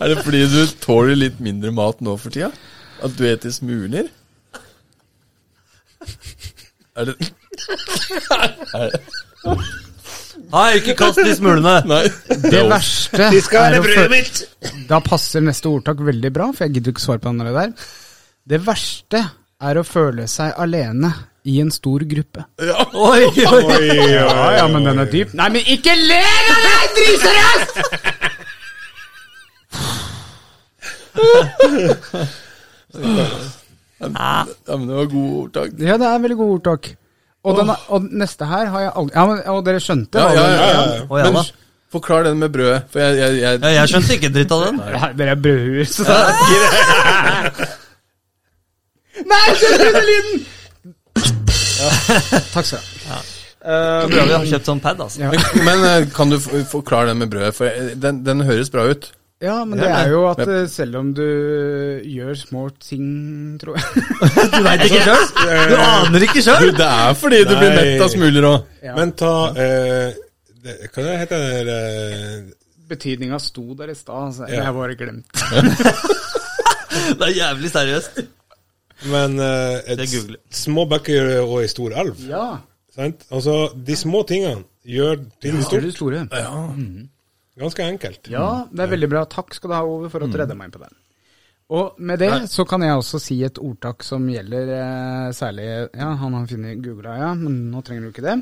Speaker 3: er det fordi du tåler litt mindre mat nå for tida? At du eter smuler? Er det
Speaker 4: Nei, ikke kast de smulene!
Speaker 3: Nei.
Speaker 2: Det verste er å føle-
Speaker 5: mitt!
Speaker 2: Da passer neste ordtak veldig bra, for jeg gidder ikke svare på den andre der. Det verste er å føle seg alene i en stor gruppe.
Speaker 4: Oi, oi.
Speaker 5: Oi, ja, ja, men
Speaker 2: den er dyp. Nei, men ikke le av deg, dritserøst!
Speaker 3: Ja, men det var gode ordtak.
Speaker 2: Ja, det er veldig gode ordtak. Og, den, og neste her har jeg aldri Ja, men, og dere skjønte?
Speaker 3: Ja,
Speaker 2: hva
Speaker 3: ja,
Speaker 2: den-
Speaker 3: ja,
Speaker 5: ja.
Speaker 4: Å, ja
Speaker 3: Men
Speaker 4: da.
Speaker 3: forklar den med brødet, for jeg, jeg, jeg
Speaker 4: Ja, jeg skjønte ikke dritt av den.
Speaker 2: Nei, Dere er brødhuer, så Nei, skjønner du lyden? Takk skal du ha.
Speaker 4: Så bra vi har kjøpt sånn pad, altså.
Speaker 2: Ja.
Speaker 3: Men, men eh, kan du f- forklare den med brødet, for jeg, den, den høres bra ut.
Speaker 2: Ja, men det er jo at eh, selv om du eh, gjør små ting, tror jeg
Speaker 4: Du veit ikke sjøl? Du aner ikke
Speaker 3: Du,
Speaker 4: sjøl?
Speaker 3: det er fordi du blir
Speaker 5: Nei.
Speaker 3: mett av smuler òg.
Speaker 2: ja.
Speaker 5: Men ta eh, det, Hva det heter det der eh,
Speaker 2: Betydninga sto der i stad, så
Speaker 5: Ja.
Speaker 2: jeg bare glemte.
Speaker 4: Det er jævlig seriøst.
Speaker 5: Men eh, et
Speaker 4: Det googler.
Speaker 5: s- små bekker og ei stor elv.
Speaker 2: Ja,
Speaker 5: Sant? Altså, de små tingene gjør ting
Speaker 2: det er
Speaker 5: stort.
Speaker 2: det store.
Speaker 5: Ganske enkelt.
Speaker 2: Ja, det er veldig bra. Takk skal du ha, Ove, for at du redda meg inn på den. Og med det så kan jeg også si et ordtak som gjelder eh, særlig Ja, han har funnet googla, ja, men nå trenger du ikke det.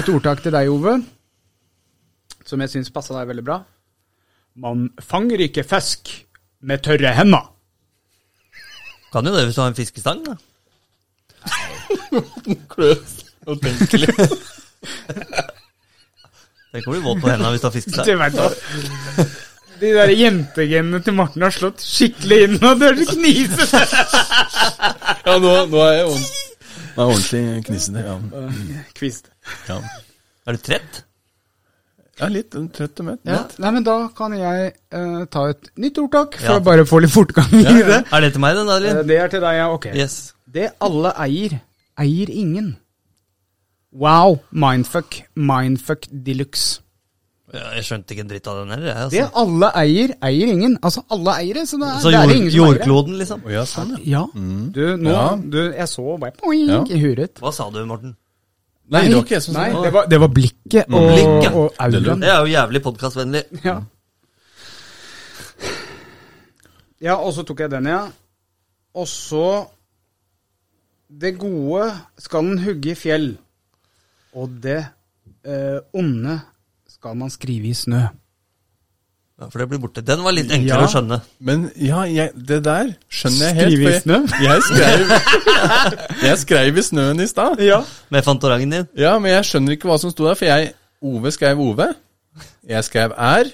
Speaker 2: Et ordtak til deg, Ove, som jeg syns passa deg veldig bra. Man fanger ikke fisk med tørre hender.
Speaker 4: Kan jo det hvis du har en fiskestang, da.
Speaker 3: Kløs. Utenkelig.
Speaker 4: Den kan bli våt på hendene hvis du har
Speaker 2: Du
Speaker 4: fiskestang.
Speaker 2: vet da. De der jentegenene til Morten har slått skikkelig inn, og det er så knisete!
Speaker 3: Ja, nå, nå er jeg ordent- Nå er jeg ordentlig knissende. Ja.
Speaker 2: Kvist.
Speaker 3: Ja.
Speaker 4: Er du trett?
Speaker 3: Jeg er litt trøtt og mett.
Speaker 2: Ja. Nei, men da kan jeg eh, ta et nytt ordtak, for
Speaker 4: Ja.
Speaker 2: å bare få litt fortgang i det.
Speaker 4: Er det til meg, den,
Speaker 2: Eh,
Speaker 4: Darlin?
Speaker 2: Det er til deg, ja. Ok.
Speaker 4: Yes.
Speaker 2: Det alle eier, eier ingen. Wow. Mindfuck. Mindfuck de luxe.
Speaker 4: Ja, Jeg skjønte ikke en dritt av den heller. jeg,
Speaker 2: Det
Speaker 4: Altså.
Speaker 2: alle eier, eier ingen. Altså, alle eier det, så det er,
Speaker 4: Så
Speaker 2: det er
Speaker 4: jord, Mm.
Speaker 2: ingen som eier det.
Speaker 4: jordkloden, liksom.
Speaker 3: Å ja, sånn, ja.
Speaker 2: Ja. Du, nå,
Speaker 3: Ja.
Speaker 2: du, jeg så bare poing
Speaker 3: Ja.
Speaker 2: i huret.
Speaker 4: Hva sa du, Morten?
Speaker 3: Nei, det var ikke jeg som sa
Speaker 2: Nei,
Speaker 3: det.
Speaker 2: det var, det var blikket og,
Speaker 4: Blikket.
Speaker 2: og auraen.
Speaker 4: Det er jo jævlig podkastvennlig.
Speaker 2: Ja. ja, og så tok jeg den, ja. Og så Det gode skal en hugge i fjell, og det eh, onde skal man skrive i snø.
Speaker 4: Ja, for det blir borte. Den var litt enklere
Speaker 2: Ja.
Speaker 4: å skjønne.
Speaker 3: Men ja, jeg, det der skjønner jeg helt.
Speaker 2: Skrive i
Speaker 3: for jeg- Jeg skrev, jeg skrev i snøen i stad.
Speaker 2: Ja.
Speaker 4: Med fantorangen din.
Speaker 3: Ja, men jeg skjønner ikke hva som sto der, for jeg Ove skrev Ove. Jeg skrev R.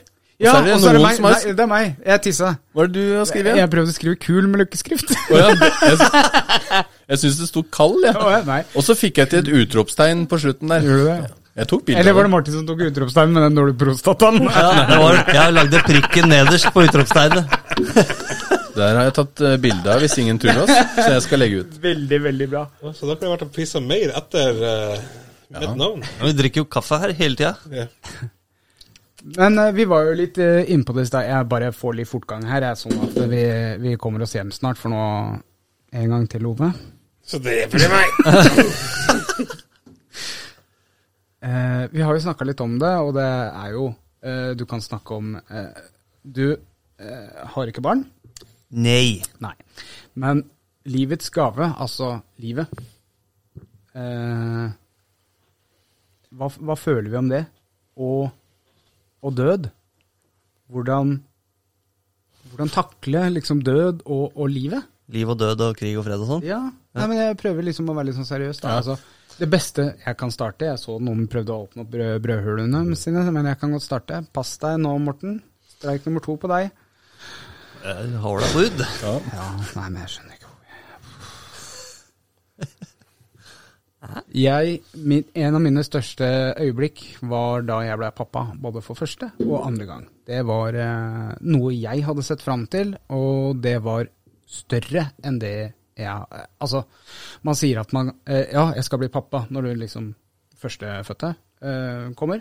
Speaker 3: Og
Speaker 2: Ja,
Speaker 3: så er det
Speaker 2: og så er det
Speaker 3: noen
Speaker 2: meg.
Speaker 3: som har
Speaker 2: Nei, det er meg. Jeg tissa.
Speaker 3: Hva er det du har skrevet?
Speaker 2: Jeg prøvde å skrive kul med løkkeskrift.
Speaker 3: Å ja, jeg jeg, jeg syns det sto kald, jeg.
Speaker 2: Å ja, nei.
Speaker 3: Og så fikk jeg til et utropstegn på slutten der.
Speaker 2: Gjorde du det?
Speaker 3: Jeg tok bilde
Speaker 2: Eller
Speaker 3: av
Speaker 2: var det Martin som tok utropstegn med den dårlige prostataen?
Speaker 4: Ja, det var, jeg lagde prikken nederst på utropstegnet.
Speaker 3: det. Der har jeg tatt eh, bilde av hvis ingen tuller oss, så jeg skal legge ut.
Speaker 2: Veldig, veldig bra.
Speaker 5: Ja, Så da kunne jeg vært og pissa mer etter eh, mitt navn.
Speaker 4: Ja, Vi drikker jo kaffe her hele tida.
Speaker 5: Ja.
Speaker 2: Men eh, vi var jo litt uh, innpå det i stad. Jeg bare får litt fortgang her, jeg, sånn at vi, vi kommer oss hjem snart. For nå en gang til, Ove.
Speaker 5: Så det blir meg.
Speaker 2: Eh, vi har jo snakka litt om det, og det er jo eh, Du kan snakke om eh, Du eh, har ikke barn?
Speaker 4: Nei.
Speaker 2: Nei. Men livets gave, altså livet eh, hva, hva føler vi om det? Og, og død? Hvordan, hvordan takle liksom død og, og livet?
Speaker 4: Liv og død og krig og fred og sånn.
Speaker 2: Ja, Nei, men jeg prøver liksom å være litt sånn seriøs. Da. Altså, det beste jeg kan starte Jeg så noen prøvde å åpne opp brød, brødhulene sine, men jeg kan godt starte. Pass deg nå, Morten. Streik nummer to på deg.
Speaker 4: Eh, Hold deg på udd.
Speaker 2: Ja, nei, men jeg skjønner ikke hvor jeg min, En av mine største øyeblikk var da jeg ble pappa, både for første og andre gang. Det var eh, noe jeg hadde sett fram til, og det var større enn det jeg eh, Altså, man sier at man eh, Ja, jeg skal bli pappa når du liksom førstefødte eh, kommer,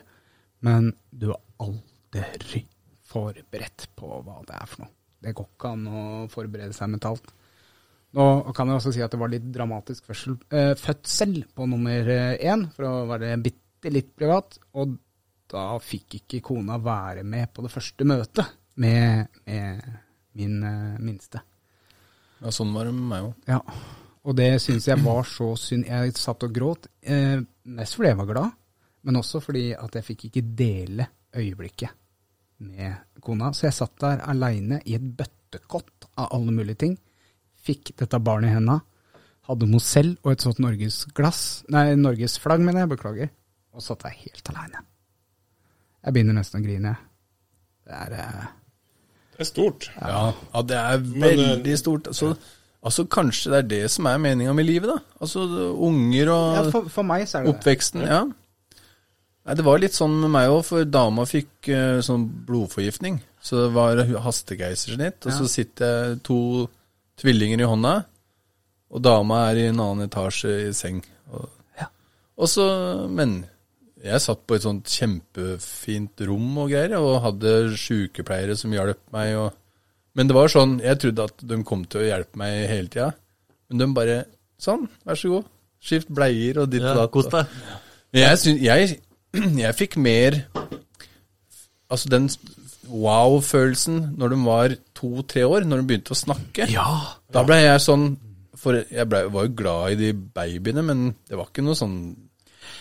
Speaker 2: men du er aldri forberedt på hva det er for noe. Det går ikke an å forberede seg mentalt. Nå kan jeg også si at det var litt dramatisk fødsel, eh, fødsel på nummer eh, én, for å være bitte litt privat. Og da fikk ikke kona være med på det første møtet med, med min eh, minste.
Speaker 3: Ja, sånn var det med meg òg.
Speaker 2: Ja, og det syns jeg var så synd. Jeg satt og gråt, eh, mest fordi jeg var glad, men også fordi at jeg fikk ikke dele øyeblikket med kona. Så jeg satt der aleine i et bøttekott av alle mulige ting, fikk dette barnet i henda, hadde Mozell og et sånt norgesglass, nei, norgesflagg, mener jeg, beklager, og satt der helt aleine. Jeg begynner nesten å grine. jeg. Det er eh,
Speaker 5: Det er stort.
Speaker 3: Ja. ja, det er
Speaker 5: Men, eh,
Speaker 3: veldig stort. Altså, altså kanskje det er det som er meninga med livet, da. Altså unger og
Speaker 2: ja, for, for meg så er det det.
Speaker 3: Oppveksten, ja. Nei, det var litt sånn med meg òg, for dama fikk eh, sånn blodforgiftning. Så det var hastegeisersnitt, og
Speaker 2: Ja.
Speaker 3: så sitter jeg to tvillinger i hånda, og dama er i en annen etasje i seng. Og, og så, men jeg satt på et sånt kjempefint rom og greier, og hadde sykepleiere som hjalp meg. Og, men det var sånn, jeg trodde at de kom til å hjelpe meg hele tida, men de bare Sånn, vær så god. Skift bleier og ditt
Speaker 4: Ja,
Speaker 3: og datt.
Speaker 4: kos deg.
Speaker 3: Men Jeg, syn- jeg, jeg fikk mer Altså den wow-følelsen når de var to-tre år, når de begynte å snakke. Da ble jeg sånn For jeg ble, var jo glad i de babyene, men det var ikke noe sånn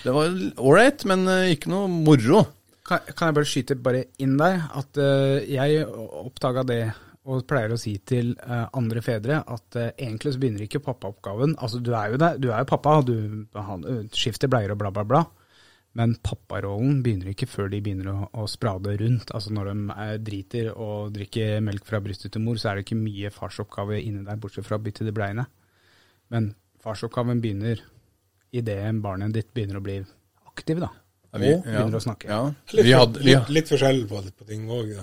Speaker 3: Det var ålreit, men eh, ikke noe moro.
Speaker 2: Kan, kan jeg bare skyte bare inn der at eh, jeg oppdaga det og pleier å si til eh, andre fedre at eh, egentlig så begynner ikke pappaoppgaven. Altså du er jo der, du er jo pappa, du han, ø, skifter bleier og bla, bla, bla. Men papparollen begynner ikke før de begynner å, å sprade rundt. Altså når de eh, driter og drikker melk fra brystet til mor, så er det ikke mye farsoppgave inni der, bortsett fra å bytte de bleiene. Men farsoppgaven begynner idet barnet ditt begynner å bli aktiv, da.
Speaker 3: Ja,
Speaker 2: og begynner å snakke.
Speaker 3: Ja.
Speaker 5: Litt,
Speaker 3: Vi hadde, vi,
Speaker 5: litt, litt forskjell på, på ting òg.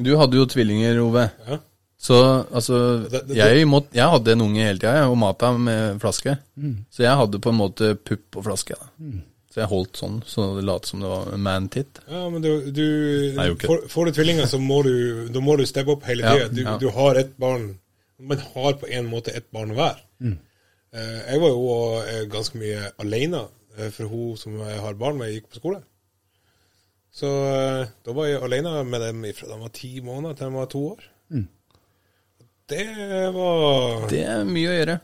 Speaker 3: du hadde jo tvillinger, Ove.
Speaker 5: Ja.
Speaker 3: Så altså
Speaker 5: Det- det-
Speaker 3: jeg, må, jeg hadde en unge hele tida, og mata med flaske.
Speaker 5: Mm.
Speaker 3: Så jeg hadde på en måte pupp og flaske. Da. Så jeg holdt sånn, så det lot som det var man-titt.
Speaker 5: Ja, men du, du
Speaker 3: Nei, jo ikke.
Speaker 5: får, får du tvillinger, så må du, da må du steppe opp hele
Speaker 3: Ja,
Speaker 5: tida. Du,
Speaker 3: ja.
Speaker 5: du har ett barn, men har på en måte ett barn hver. Eh, Jeg var jo eh, ganske mye alene, eh, for hun som jeg har barn med, gikk på skole. Så eh, da var jeg alene med dem fra de var ti måneder til de var to år. Det var
Speaker 3: Det er mye å gjøre.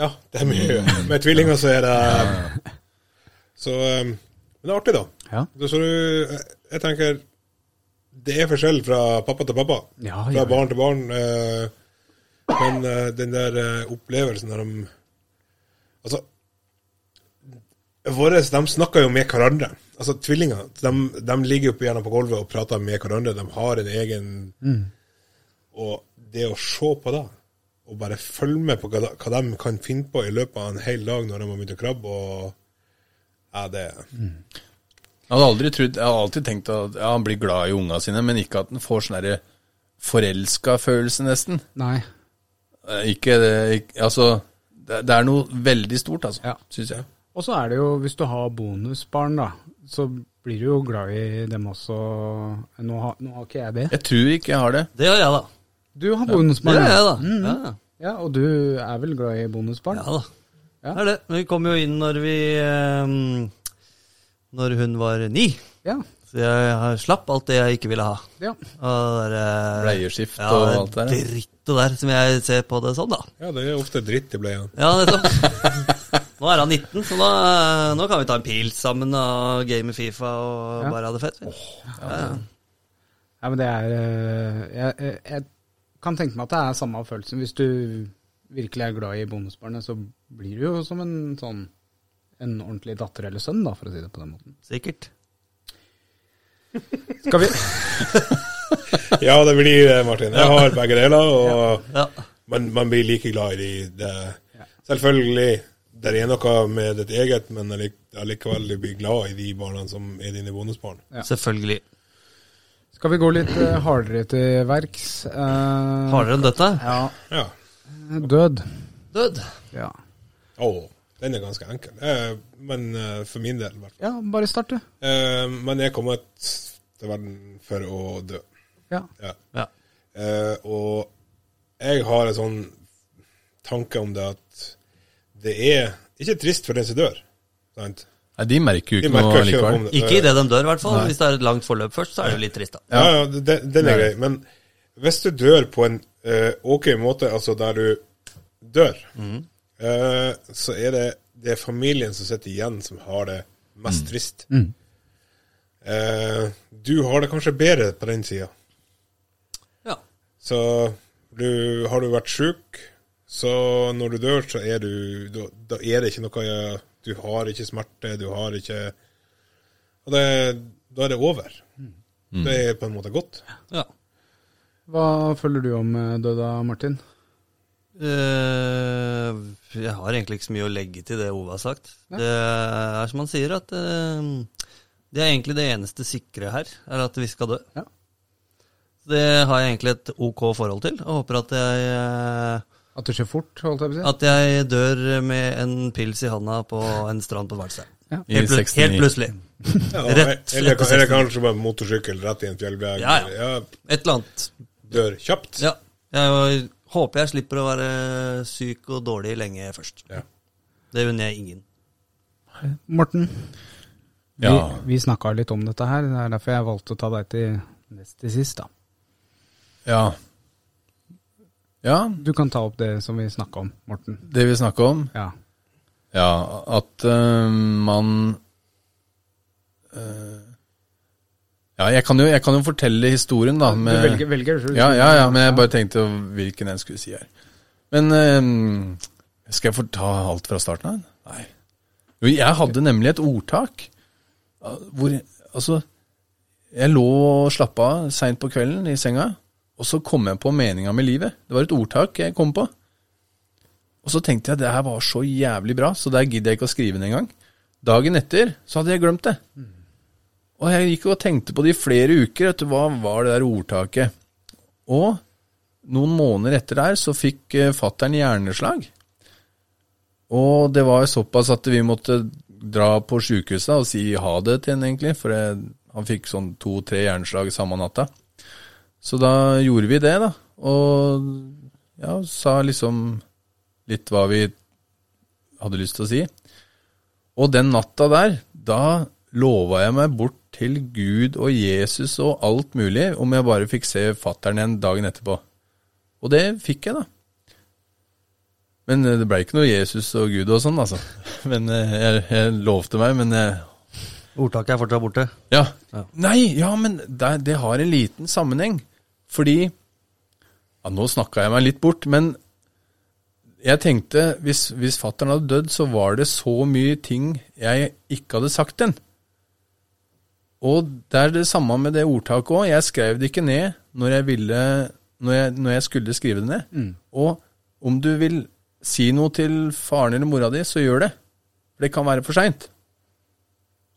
Speaker 5: ja, det er mye. Med tvillinger så er det Så eh, Men det er artig, da.
Speaker 2: Ja.
Speaker 5: Så, så du eh, Jeg tenker Det er forskjell fra pappa til pappa.
Speaker 2: Ja,
Speaker 5: fra
Speaker 2: ja, ja.
Speaker 5: barn til barn. eh, men eh, den der eh, opplevelsen når de Altså våre, De snakker jo med hverandre. Altså Tvillinger de, de ligger jo på- gjerne på gulvet og prater med hverandre. De har en egen
Speaker 2: Mm.
Speaker 5: Og det å se på det, og bare følge med på hva de, hva de kan finne på i løpet av en hel dag når de har begynt å krabbe og ja, det,
Speaker 2: Mm.
Speaker 3: Jeg hadde aldri trodd, jeg hadde alltid tenkt at ja, han blir glad i unga sine, men ikke at han får sånn derre forelska følelse, nesten.
Speaker 2: Nei.
Speaker 3: Eh, Ikke, det- ikke Altså, det, det er noe veldig stort, altså,
Speaker 2: Ja.
Speaker 3: syns jeg.
Speaker 2: Og så er det jo, hvis du har bonusbarn, da, så blir du jo glad i dem også. Nå har, nå har ikke jeg det.
Speaker 3: Jeg tror ikke jeg har det.
Speaker 4: Det gjør jeg, da.
Speaker 2: Du har bonusbarn,
Speaker 4: Det gjør jeg, da.
Speaker 2: Mm.
Speaker 4: Ja, ja.
Speaker 2: Ja, og du er vel glad i bonusbarn?
Speaker 4: Ja da.
Speaker 2: Ja.
Speaker 4: Det er det. Men vi kom jo inn når vi ehm, Når hun var ni.
Speaker 2: Ja.
Speaker 4: Så jeg har- slapp alt det jeg ikke ville ha.
Speaker 2: ja.
Speaker 4: Og det der, eh,
Speaker 3: Bleieskift
Speaker 4: ja,
Speaker 3: og alt det der, ja.
Speaker 4: Dritt og der, som jeg ser på det sånn, da.
Speaker 5: ja, det er ofte dritt i bleiene.
Speaker 4: Ja, nettopp. Nå er han 19, så da, eh, nå kan vi ta en pils sammen og game Fifa og
Speaker 2: Ja.
Speaker 4: bare ha det fett. vi. ja,
Speaker 2: Nei, men det er eh, jeg, jeg, jeg kan tenke meg at det er samme følelsen. Hvis du virkelig er glad i bonusbarnet, så blir du jo som en sånn en ordentlig datter eller sønn, da, for å si det på den måten.
Speaker 4: sikkert.
Speaker 2: Skal vi
Speaker 5: Ja, det blir det, Martin. Jeg har begge deler, og
Speaker 4: Ja.
Speaker 5: man, man blir like glad i de. Det. Selvfølgelig, det er noe med ditt eget, men allike- allikevel du blir glad i de barna som er dine bonusbarn.
Speaker 2: Ja.
Speaker 4: Selvfølgelig.
Speaker 2: Skal vi gå litt eh, hardere til verks? Eh,
Speaker 4: Hardere enn dette?
Speaker 2: Ja.
Speaker 5: Ja.
Speaker 2: Død.
Speaker 4: Død.
Speaker 2: Ja.
Speaker 5: Å, den er ganske enkel. Eh, men eh, for min del, i hvert fall.
Speaker 2: ja, bare start, du.
Speaker 5: Eh, men jeg er kommet til verden for å dø.
Speaker 2: Ja.
Speaker 5: Ja.
Speaker 4: Ja.
Speaker 5: Eh, og jeg har en sånn tanke om det at det er ikke trist for den som dør. Sant?
Speaker 3: Nei, de merker jo
Speaker 5: De
Speaker 3: ikke
Speaker 5: merker
Speaker 3: noe
Speaker 5: ikke
Speaker 3: likevel.
Speaker 5: om det.
Speaker 4: Ikke idet de dør, i hvert fall. Hvis det er et langt forløp først, så er det jo litt trist, da.
Speaker 5: Ja, ja den, den er grei. Men hvis du dør på en eh, OK måte, altså der du dør, eh, så er det, det er familien som sitter igjen, som har det mest trist. Eh, du har det kanskje bedre på den sida.
Speaker 4: Ja.
Speaker 5: Så du, har du vært syk, så når du dør, så er du Da, da er det ikke noe ja, Du har ikke smerte, du har ikke Og det, da er det over. Det er på en måte godt.
Speaker 4: ja.
Speaker 2: Hva føler du om eh, døda, Martin?
Speaker 4: Eh, jeg har egentlig ikke så mye å legge til det Ove har sagt. Det er som han sier, at eh, det er egentlig det eneste sikre her, er at vi skal dø.
Speaker 2: Ja.
Speaker 4: Så Det har jeg egentlig et ok forhold til, og håper at jeg, eh,
Speaker 2: At det skjer fort, holdt jeg på å si?
Speaker 4: at jeg dør med en pils i handa på en strand på Hvalstad.
Speaker 3: I
Speaker 4: Helt, plut-
Speaker 3: 69.
Speaker 4: helt plutselig.
Speaker 5: Ja,
Speaker 4: Rett
Speaker 5: eller,
Speaker 4: etter
Speaker 5: eller kanskje bare motorsykkel rett i en fjellvegg.
Speaker 4: Ja, ja. Et eller annet.
Speaker 5: dør kjapt.
Speaker 4: Ja. Jeg håper jeg slipper å være syk og dårlig lenge først.
Speaker 5: Ja.
Speaker 4: Det unner jeg ingen.
Speaker 2: Morten,
Speaker 3: Ja.
Speaker 2: vi, vi snakka litt om dette her. Det er derfor jeg valgte å ta deg til nest til sist, da.
Speaker 3: ja. Ja,
Speaker 2: Du kan ta opp det som vi snakka om, Morten.
Speaker 3: det vi snakker om.
Speaker 2: Ja.
Speaker 3: Ja, at eh, man eh, Ja, jeg kan, jo, jeg kan jo fortelle historien, da.
Speaker 2: Du
Speaker 3: med-
Speaker 2: velger, velger selv.
Speaker 3: Ja, ja, ja, men jeg bare tenkte hvilken jeg skulle si her. Men eh, skal jeg få ta alt fra starten av? Nei. Jo, jeg hadde nemlig et ordtak ah, hvor Altså, jeg lå og slappa av seint på kvelden i senga, og så kom jeg på meninga med livet. Det var et ordtak jeg kom på. Og så tenkte jeg det her var så jævlig bra, så der gidder jeg ikke å skrive det engang. Dagen etter så hadde jeg glemt det. Og jeg gikk og tenkte på det i flere uker. Vet du, hva var det der ordtaket? Og noen måneder etter der så fikk eh, fattern hjerneslag. Og det var såpass at vi måtte dra på sjukehuset og si ha det til henne, egentlig. For det, han fikk sånn to-tre hjerneslag samme natta. Så da gjorde vi det, da. Og ja, sa liksom litt hva vi hadde lyst til å si. Og den natta der, da lova jeg meg bort til Gud og Jesus og alt mulig, om jeg bare fikk se fattern igjen dagen etterpå. Og det fikk jeg, da. Men eh, det blei ikke noe Jesus og Gud og sånn, altså. Men eh, jeg, jeg lovte meg, men jeg
Speaker 4: Ordtaket er fortsatt borte.
Speaker 3: ja. Nei, ja, men det, det har en liten sammenheng. Fordi ja, Nå snakka jeg meg litt bort, men jeg tenkte hvis, hvis fattern hadde dødd, så var det så mye ting jeg ikke hadde sagt den. Og det er det samme med det ordtaket òg. Jeg skrev det ikke ned når jeg, ville, når jeg, når jeg skulle skrive det ned.
Speaker 2: Mm.
Speaker 3: Og om du vil si noe til faren eller mora di, så gjør det. For det kan være for seint.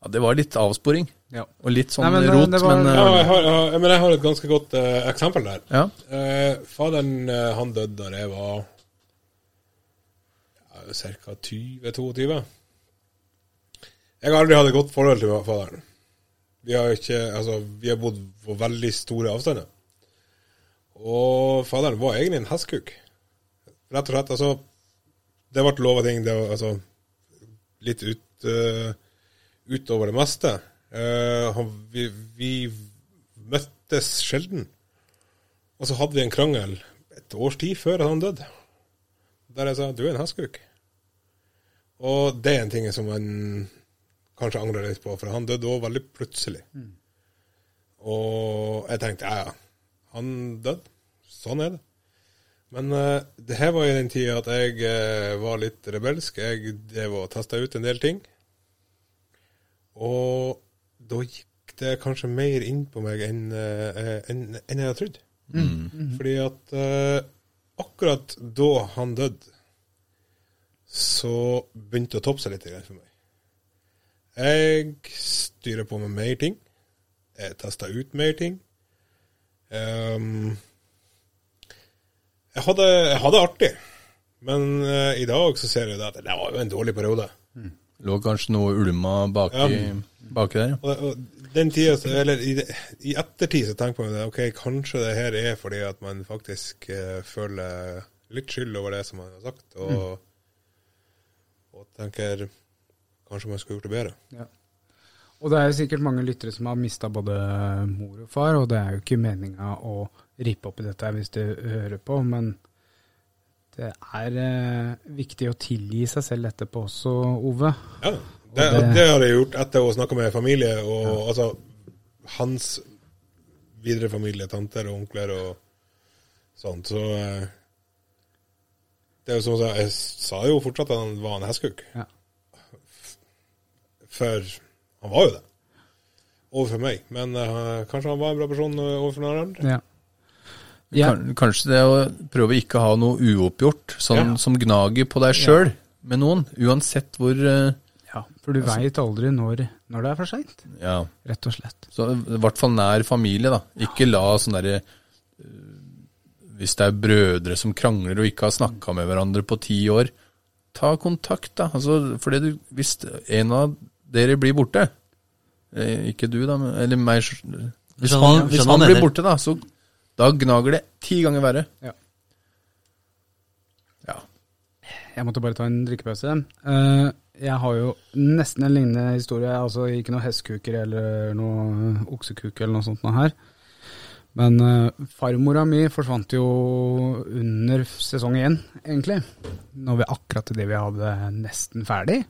Speaker 3: Ja, det var litt avsporing.
Speaker 2: Ja.
Speaker 3: Og litt sånn
Speaker 2: Nei, men det-
Speaker 3: rot,
Speaker 2: det var-
Speaker 3: men
Speaker 5: Ja,
Speaker 3: eh,
Speaker 5: jeg, har, jeg- jeg, men jeg har et ganske godt eh, eksempel der.
Speaker 3: ja.
Speaker 5: Eh, faderen eh, han døde da jeg var ja, ca. 20-22. Jeg har aldri hatt et godt forhold til faderen. Vi har, ikke, altså, vi har bodd på veldig store avstander. Og faderen var egentlig en hestkuk. Rett og slett. Altså, det ble lova ting. Det var altså litt ut, eh, utover det meste. Eh, han- vi, vi møttes sjelden. Og så hadde vi en krangel et års tid før han døde. Der jeg sa du er en hestkuk. Og det er en ting som man kanskje angrer litt på, for han døde òg veldig plutselig. Og jeg tenkte ja, ja, han døde. Sånn er det. Men eh, det her var i den tida at jeg eh, var litt rebelsk. Jeg drev og testa ut en del ting. Og da gikk det kanskje mer inn på meg enn, eh, enn, enn jeg hadde trodd. Fordi at eh, akkurat da han døde, så begynte det å toppe seg litt grann for meg. Jeg styrer på med mer ting. Jeg tester ut mer ting. Ehm, jeg, hadde, jeg hadde artig, men eh, i dag så ser jeg det at det var jo en dårlig periode.
Speaker 3: Lå kanskje noe ulma baki,
Speaker 5: Ja.
Speaker 3: baki der, ja.
Speaker 5: Og, og den tida, så- eller i, det- i ettertid så tenker man det, ok, kanskje det her er fordi at man faktisk eh, føler litt skyld over det som man har sagt, og, og tenker kanskje man skulle gjort det bedre.
Speaker 2: Og det er jo sikkert mange lyttere som har mista både mor og far, og det er jo ikke meninga å rippe opp i dette her hvis du hører på, men det er eh, viktig å tilgi seg selv etterpå også, Ove.
Speaker 5: Ja, det,
Speaker 2: Og det-
Speaker 5: det har jeg gjort etter å snakke med familie, og altså hans videre familie, tanter og onkler og sånt, så eh, det er jo som å si, jeg sa jo fortsatt at han var en hestkuk.
Speaker 2: Ja.
Speaker 5: For han var jo det. Overfor meg. Men eh, kanskje han var en bra person eh, overfor noen andre.
Speaker 2: Ja. Ja.
Speaker 3: Kan- Kanskje det å prøve å ikke ha noe uoppgjort, sånn
Speaker 5: Ja.
Speaker 3: som gnager på deg sjøl med noen, uansett hvor eh,
Speaker 2: ja, for du vet veit aldri når, når det er for seint,
Speaker 3: Ja,
Speaker 2: rett og slett.
Speaker 3: så i hvert fall nær familie, da. Ikke la sånn derre eh, Hvis det er brødre som krangler og ikke har snakka med hverandre på ti år, ta kontakt, da. Altså, fordi du, hvis en av dere blir borte eh, Ikke du, da, men, eller meg Hvis
Speaker 4: Skjønner hva-
Speaker 3: han,
Speaker 4: skjønner
Speaker 3: hvis
Speaker 4: hva
Speaker 3: han
Speaker 4: han
Speaker 3: blir
Speaker 4: mener.
Speaker 3: borte, da, så da gnager det ti ganger verre.
Speaker 2: Ja.
Speaker 3: Ja.
Speaker 2: Jeg måtte bare ta en drikkepause. Eh, jeg har jo nesten en lignende historie. Altså ikke noe hestkuker eller noe oksekuker eller noe sånt noe her. Men eh, farmora mi forsvant jo under sesong én, egentlig. Når vi akkurat til det vi hadde nesten ferdig,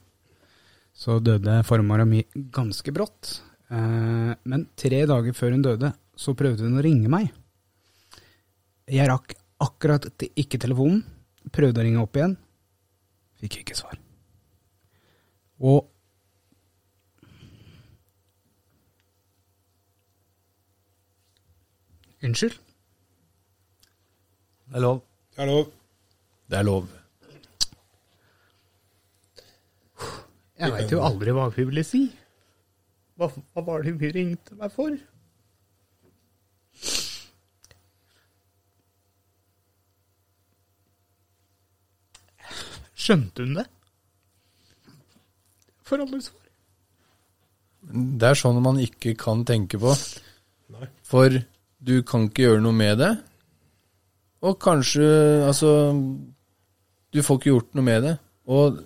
Speaker 2: så døde farmora mi ganske brått. Eh, men tre dager før hun døde, så prøvde hun å ringe meg. Jeg rakk akkurat til- ikke telefonen. Prøvde å ringe opp igjen. Fikk ikke svar. Og Unnskyld?
Speaker 4: Det er lov.
Speaker 5: Det er lov.
Speaker 3: Det er lov.
Speaker 2: Jeg veit jo aldri hva hun ville si.
Speaker 7: Hva, hva var det hun ringte meg for? Skjønte hun det? For alle svar.
Speaker 3: Det er sånn man ikke kan tenke på.
Speaker 5: Nei.
Speaker 3: For du kan ikke gjøre noe med det. Og kanskje Altså, du får ikke gjort noe med det. Og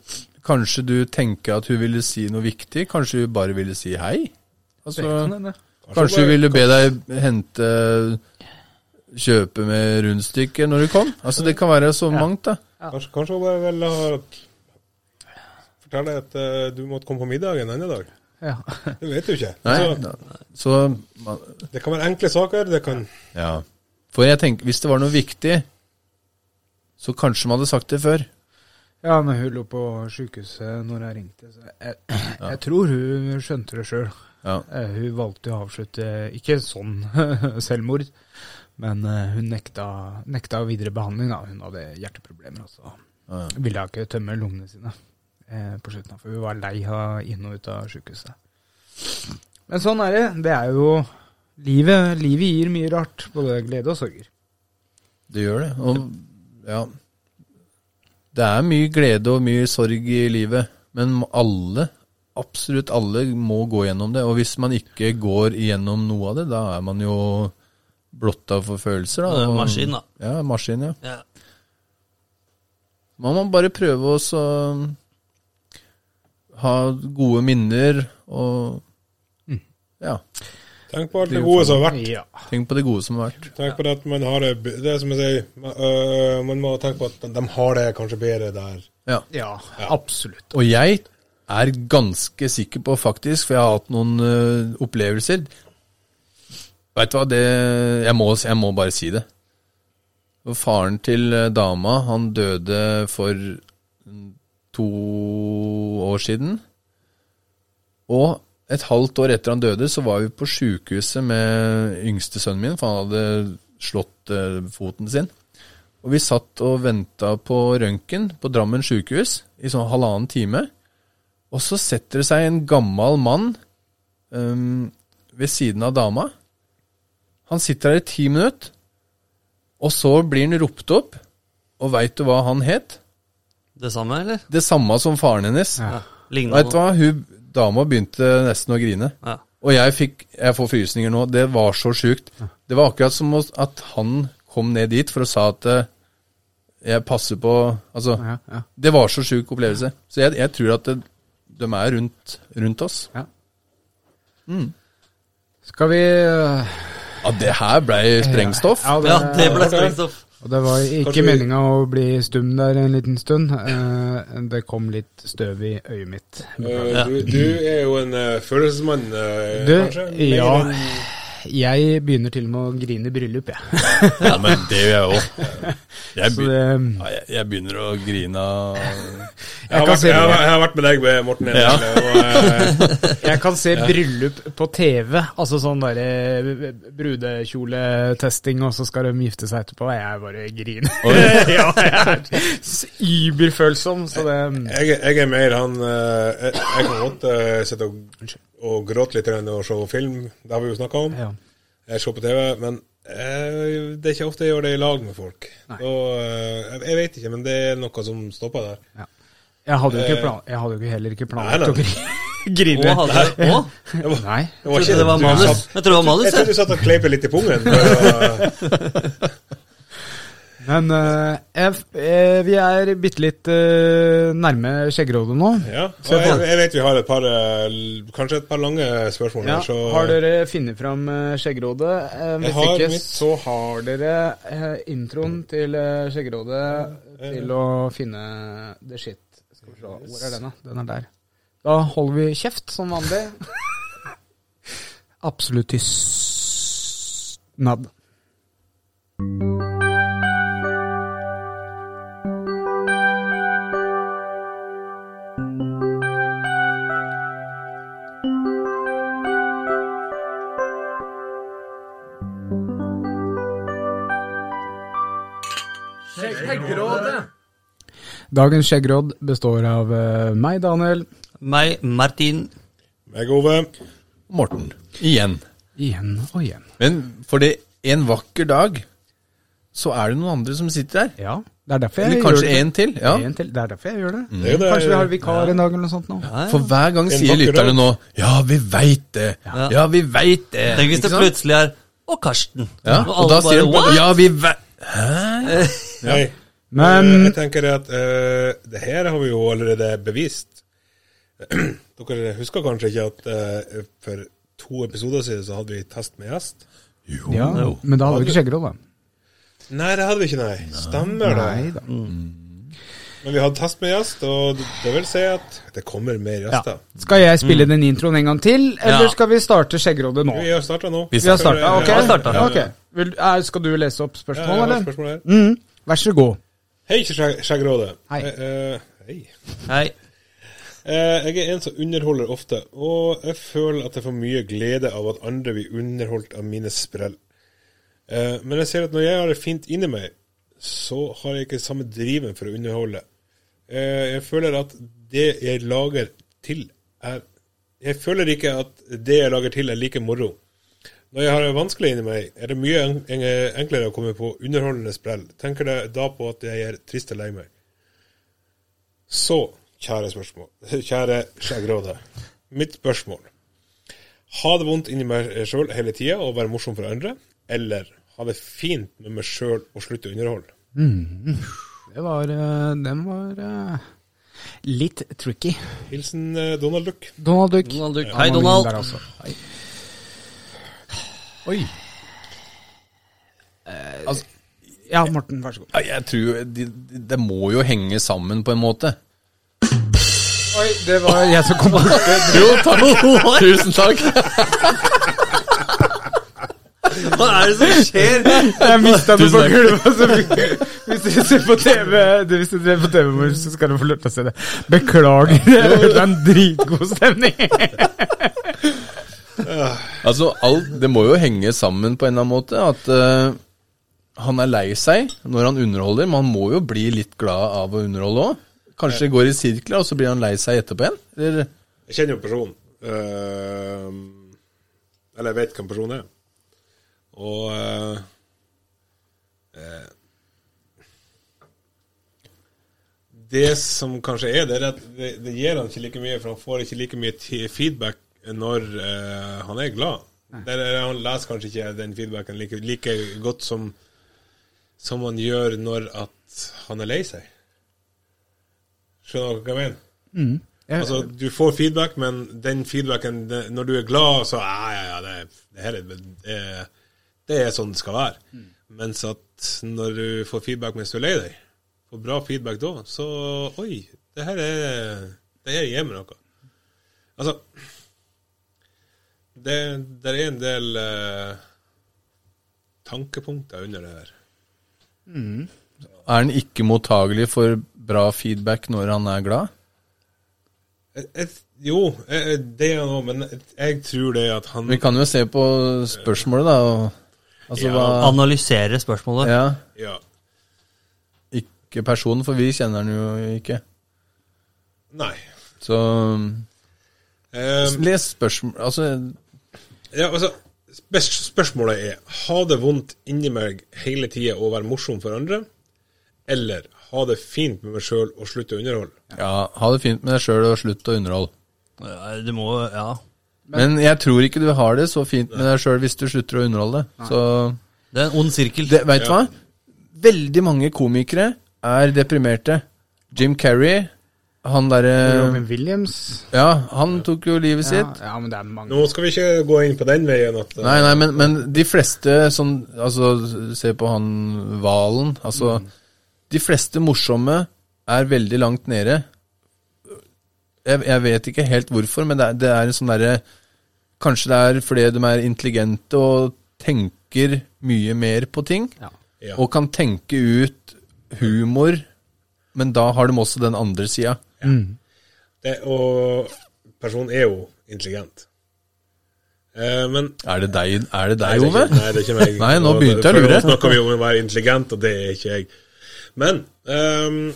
Speaker 3: kanskje du tenker at hun ville si noe viktig. Kanskje hun bare ville si hei. Altså, kanskje hun ville be deg hente Kjøpe med rundstykker når du kom. Altså, det kan være så mangt, da.
Speaker 5: Kanskje, kanskje hun bare ville ha fortelle at eh, du måtte komme på middag en annen dag.
Speaker 2: Ja.
Speaker 5: Det vet du ikke.
Speaker 3: Nei,
Speaker 5: Altså,
Speaker 3: da- så man-
Speaker 5: det kan være enkle saker. Det kan
Speaker 3: Ja. For jeg tenker, hvis det var noe viktig, så kanskje man hadde sagt det før.
Speaker 2: Ja, men hun lå på sjukehuset når jeg ringte. Så jeg, jeg tror hun skjønte det sjøl.
Speaker 3: Ja.
Speaker 2: Hun valgte å avslutte, ikke sånn selvmord, men eh, hun nekta, nekta videre behandling. Da. Hun hadde hjerteproblemer og så
Speaker 3: Ja.
Speaker 2: ville hun ikke tømme lungene sine eh, på slutten. av- For hun var lei av inn og ut av sjukehuset. Men sånn er det. Det er jo livet. Livet gir mye rart. Både glede og sorger.
Speaker 3: Det gjør det. Og ja Det er mye glede og mye sorg i livet, men alle, absolutt alle, må gå gjennom det. Og hvis man ikke går gjennom noe av det, da er man jo blotta for følelser.
Speaker 4: Det
Speaker 3: Da.
Speaker 4: er en
Speaker 3: Og-
Speaker 4: maskin, da.
Speaker 3: Ja, maskin, ja.
Speaker 4: Ja.
Speaker 3: Man må bare prøve å så ha gode minner og Mm. Ja.
Speaker 5: tenke på alt det gode som har vært.
Speaker 2: Ja.
Speaker 3: Tenk på det gode som har vært.
Speaker 5: Tenk på det at man har det b- Det er som jeg sier, man, øh, man må tenke på at de- de har det kanskje bedre der.
Speaker 3: Ja.
Speaker 2: ja, absolutt.
Speaker 3: Og jeg er ganske sikker på, faktisk, for jeg har hatt noen ø, opplevelser Veit du hva, det jeg må, jeg må bare si det. Og Faren til ø, dama, han døde for to år siden. Og et halvt år etter han døde, så var vi på sjukehuset med yngste sønnen min, for han hadde slått ø, foten sin. Og vi satt og venta på røntgen på Drammen sjukehus i sånn halvannen time. Og så setter det seg en gammel mann øhm, ved siden av dama. Han sitter der i ti minutter, og så blir han ropt opp. Og veit du hva han het?
Speaker 4: Det samme, eller?
Speaker 3: Det samme som faren hennes.
Speaker 4: Ja. Lignende.
Speaker 3: Veit du hva? Hun dama begynte nesten å grine.
Speaker 4: Ja.
Speaker 3: Og jeg fikk Jeg får frysninger nå. Det var så sjukt. Det var akkurat som å- at han kom ned dit for å sa at eh, jeg passer på Altså,
Speaker 2: Ja, ja.
Speaker 3: det var så sjuk opplevelse. Så jeg, jeg tror at det, de er rundt, rundt oss.
Speaker 2: Skal vi eh,
Speaker 3: Ja, det her blei sprengstoff.
Speaker 4: Ja, det ble sprengstoff.
Speaker 2: Og det var ikke
Speaker 5: Kanskje vi-
Speaker 2: meninga å bli stum der en liten stund. Eh, det kom litt støv i øyet mitt.
Speaker 5: Øh, du, du er jo en øh, følelsesmann, øh,
Speaker 2: Du,
Speaker 5: kanskje? Mer
Speaker 2: ja.
Speaker 5: enn-
Speaker 2: Jeg begynner til og med å grine i bryllup, jeg.
Speaker 3: Ja, men det gjør jeg òg.
Speaker 2: Så
Speaker 3: Jeg, begyn-
Speaker 2: det,
Speaker 3: ja, jeg, jeg begynner å grine av
Speaker 5: Jeg, har
Speaker 2: kan
Speaker 5: vært,
Speaker 2: se det.
Speaker 5: jeg, har, jeg har vært med deg, Morten.
Speaker 3: Ja.
Speaker 5: Emil, Og, øh,
Speaker 2: jeg kan se bryllup på TV, altså sånn derre brudekjoletesting, og så skal de gifte seg etterpå. Jeg bare griner. ja, jeg er s- überfølsom, så det
Speaker 5: jeg, jeg er mer han øh, Jeg, jeg kan godt øh, sitte og, og gråte litt grann og se film, det har vi jo snakka om.
Speaker 2: ja.
Speaker 5: Jeg ser på TV, men øh, det er ikke ofte jeg gjør det i lag med folk.
Speaker 2: Nei.
Speaker 5: Og, øh, jeg, jeg vet ikke, men det er noe som stopper der.
Speaker 2: Jeg hadde jo ikke
Speaker 5: Eh,
Speaker 2: plan, jeg hadde jo ikke- heller ikke
Speaker 5: nei,
Speaker 2: planlagt
Speaker 5: nei.
Speaker 2: å gri-
Speaker 4: Å,
Speaker 2: grine.
Speaker 4: hadde Å,
Speaker 2: Nei.
Speaker 5: Det
Speaker 4: jeg trodde det var
Speaker 5: du
Speaker 4: manus.
Speaker 5: satt-
Speaker 4: Jeg trodde det var
Speaker 5: Jeg
Speaker 4: manus,
Speaker 5: trodde
Speaker 4: jeg.
Speaker 5: du satt og kleipet litt i pungen. for å-
Speaker 2: Men eh, jeg f- eh, vi er bitte litt eh, nærme skjeggerådet nå.
Speaker 5: Ja, og jeg, jeg vet vi har et par eh, l- kanskje et par lange spørsmål.
Speaker 2: Ja,
Speaker 5: her, så
Speaker 2: har dere funnet fram eh, skjeggerådet? Eh,
Speaker 5: Jeg
Speaker 2: hvis
Speaker 5: har
Speaker 2: ikke,
Speaker 5: mitt.
Speaker 2: så har dere eh, introen til eh, skjeggerådet til å finne the shit. Skal vi se, hvor er den, da? Den er der. Da holder vi kjeft, som vanlig. Absolutt tystnad. Dagens skjeggråd består av eh, meg, Daniel.
Speaker 4: Meg, Martin.
Speaker 5: Meg, Ove.
Speaker 3: Morten. Igjen.
Speaker 2: Igjen og igjen.
Speaker 3: Men fordi en vakker dag, så er det noen andre som sitter der.
Speaker 2: Ja, det er derfor jeg
Speaker 3: Eller kanskje
Speaker 2: gjør det.
Speaker 3: en til. ja.
Speaker 2: En til. Det er derfor jeg gjør det.
Speaker 5: Det er jo det-
Speaker 2: Kanskje vi har vikar en dag eller noe sånt nå.
Speaker 3: For hver gang
Speaker 5: En
Speaker 3: sier
Speaker 5: vakker
Speaker 3: lytterne
Speaker 5: dag.
Speaker 3: nå 'ja, vi veit det', 'ja, vi veit det'.
Speaker 4: Tenk hvis
Speaker 3: Ikke
Speaker 4: det
Speaker 3: sant?
Speaker 4: plutselig er Og Karsten.
Speaker 3: ja, Og da sier de
Speaker 4: «What?»
Speaker 3: bare 'ja, vi veit'. Hæ?
Speaker 5: Nei.
Speaker 2: Men
Speaker 5: Eh, jeg tenker at eh, det her har vi jo allerede bevist. Dere husker kanskje ikke at eh, for to episoder siden så hadde vi test med gjest?
Speaker 3: Jo.
Speaker 2: ja, men da hadde vi ikke skjeggeråd, da.
Speaker 5: Nei, det hadde vi ikke, nei. Stemmer det.
Speaker 2: Nei da.
Speaker 5: Men vi hadde test med gjest, og det vil si at det kommer mer gjester.
Speaker 2: Skal jeg spille den introen en gang til, eller
Speaker 4: Mm. Ja.
Speaker 2: skal vi starte skjeggerådet nå?
Speaker 5: Vi har starta nå.
Speaker 3: Vi
Speaker 2: Vi har starta, ok?
Speaker 4: Vi har startet.
Speaker 2: Ja, ok. Vil, er, skal du lese opp
Speaker 5: Ja,
Speaker 2: spørsmål,
Speaker 5: jeg har et
Speaker 2: eller?
Speaker 5: spørsmål her.
Speaker 2: Mm, vær så god.
Speaker 5: Hei, Skjegg- Skjeggråde.
Speaker 2: Hei.
Speaker 5: Eh, eh, hei.
Speaker 4: Nei.
Speaker 5: Eh, Jeg er en som underholder ofte, og jeg føler at jeg får mye glede av at andre blir underholdt av mine sprell. Eh, Men jeg ser at når jeg har det fint inni meg, så har jeg ikke samme driven for å underholde. Eh, Jeg føler at det jeg lager til, er Jeg føler ikke at det jeg lager til, er like moro. Når jeg har det vanskelig inni meg, er det mye en- en- enklere å komme på underholdende sprell. Tenker jeg da på at jeg er trist og lei meg. Så, kjære spørsmål Kjære skjeggråde. Mitt spørsmål. Ha det vondt inni meg sjøl hele tida og være morsom for andre, eller ha det fint med meg sjøl og slutte å underholde?
Speaker 2: Det var, eh, den var eh, litt tricky.
Speaker 5: Hilsen eh, Donald Duck.
Speaker 2: Donald Duck.
Speaker 4: Donald Duck.
Speaker 2: Han
Speaker 4: Hei,
Speaker 2: var min
Speaker 4: Donald.
Speaker 2: der altså. Hei. Oi.
Speaker 3: Altså,
Speaker 2: Eh, Ja, Morten, vær så god.
Speaker 3: ja, jeg tror jo- de- de- Det må jo henge sammen på en måte.
Speaker 2: Oi, det var jeg som kom på det.
Speaker 3: Jo, takk. Tusen takk.
Speaker 4: Hva er det som skjer?
Speaker 2: Jeg mista det på
Speaker 3: Tusen takk.
Speaker 2: gulvet. så vi- Hvis du ser på TV, du, hvis du ser på TV mor, så skal du få lov til å se det. Beklager, det er en dritgod stemning.
Speaker 3: Altså, alt, Det må jo henge sammen på en eller annen måte. At eh, han er lei seg når han underholder, men han må jo bli litt glad av å underholde òg. Kanskje det går i sirkler, og så blir han lei seg etterpå igjen? Eller,
Speaker 5: Jeg kjenner jo personen. Eh, eller jeg vet hvem personen er. Og eh, eh, Det som kanskje er, det er at det, det gir han ikke like mye, for han får ikke like mye ti- feedback når eh, han er glad. Der er, han leser kanskje ikke den feedbacken like, like godt som, som han gjør når at han er lei seg. Skjønner dere hva jeg mener? Altså, du får feedback, men den feedbacken det, Når du er glad, så Ja, ja, ja, det, det her er det, det er sånn det skal være. Mens at når du får feedback mens du er lei deg, får bra feedback da, så Oi, det her er Det her gir meg noe. Altså Det der er en del eh, tankepunkter under det her.
Speaker 3: er han ikke mottagelig for bra feedback når han er glad?
Speaker 5: Jeg, jeg, jo, jeg, jeg- det er noe, men jeg, jeg tror det at han
Speaker 3: Vi kan jo se på spørsmålet, da. Og, altså
Speaker 5: Ja.
Speaker 3: hva
Speaker 4: Analysere spørsmålet.
Speaker 3: Ja,
Speaker 5: Ja.
Speaker 3: ikke personen, for vi kjenner han jo ikke.
Speaker 5: Nei.
Speaker 3: Så
Speaker 5: Um,
Speaker 3: les spørsmål Altså,
Speaker 5: Ja, altså, spes- spørsmålet er Ha det vondt inni meg hele tida og være morsom for andre? Eller ha det fint med meg sjøl og slutte å underholde?
Speaker 3: ja, ha det fint med deg sjøl, og slutt å underholde.
Speaker 4: Ja, Du må Ja.
Speaker 3: Men jeg tror ikke du har det så fint med deg sjøl hvis du slutter å underholde. Så
Speaker 4: Det er en ond sirkel.
Speaker 3: det, vet du hva? Veldig mange komikere er deprimerte. Jim Carrey, han
Speaker 5: eh,
Speaker 3: derre
Speaker 2: eh, Robin Williams.
Speaker 3: Ja, han tok jo livet
Speaker 2: Ja,
Speaker 3: sitt.
Speaker 2: ja, men det er mange.
Speaker 5: Nå skal vi ikke gå inn på den veien at eh,
Speaker 3: Nei, nei, men, men de fleste som Altså, se på han Valen. Altså, de fleste morsomme er veldig langt nede. Jeg, jeg vet ikke helt hvorfor, men det er, det er en sånn derre Kanskje det er fordi de er intelligente og tenker mye mer på ting.
Speaker 2: Ja.
Speaker 5: Ja.
Speaker 3: Og kan tenke ut humor, men da har de også den andre sida.
Speaker 5: eh, det, Og personen er jo intelligent. Eh, men
Speaker 3: Er det deg, er det deg
Speaker 5: Nei, det er
Speaker 3: Ove?
Speaker 5: ikke- Nei, det er ikke meg.
Speaker 3: Nei, nå begynte jeg å
Speaker 5: For
Speaker 3: lure.
Speaker 5: Nå snakker vi om å være intelligent, og det er ikke jeg. Men ehm,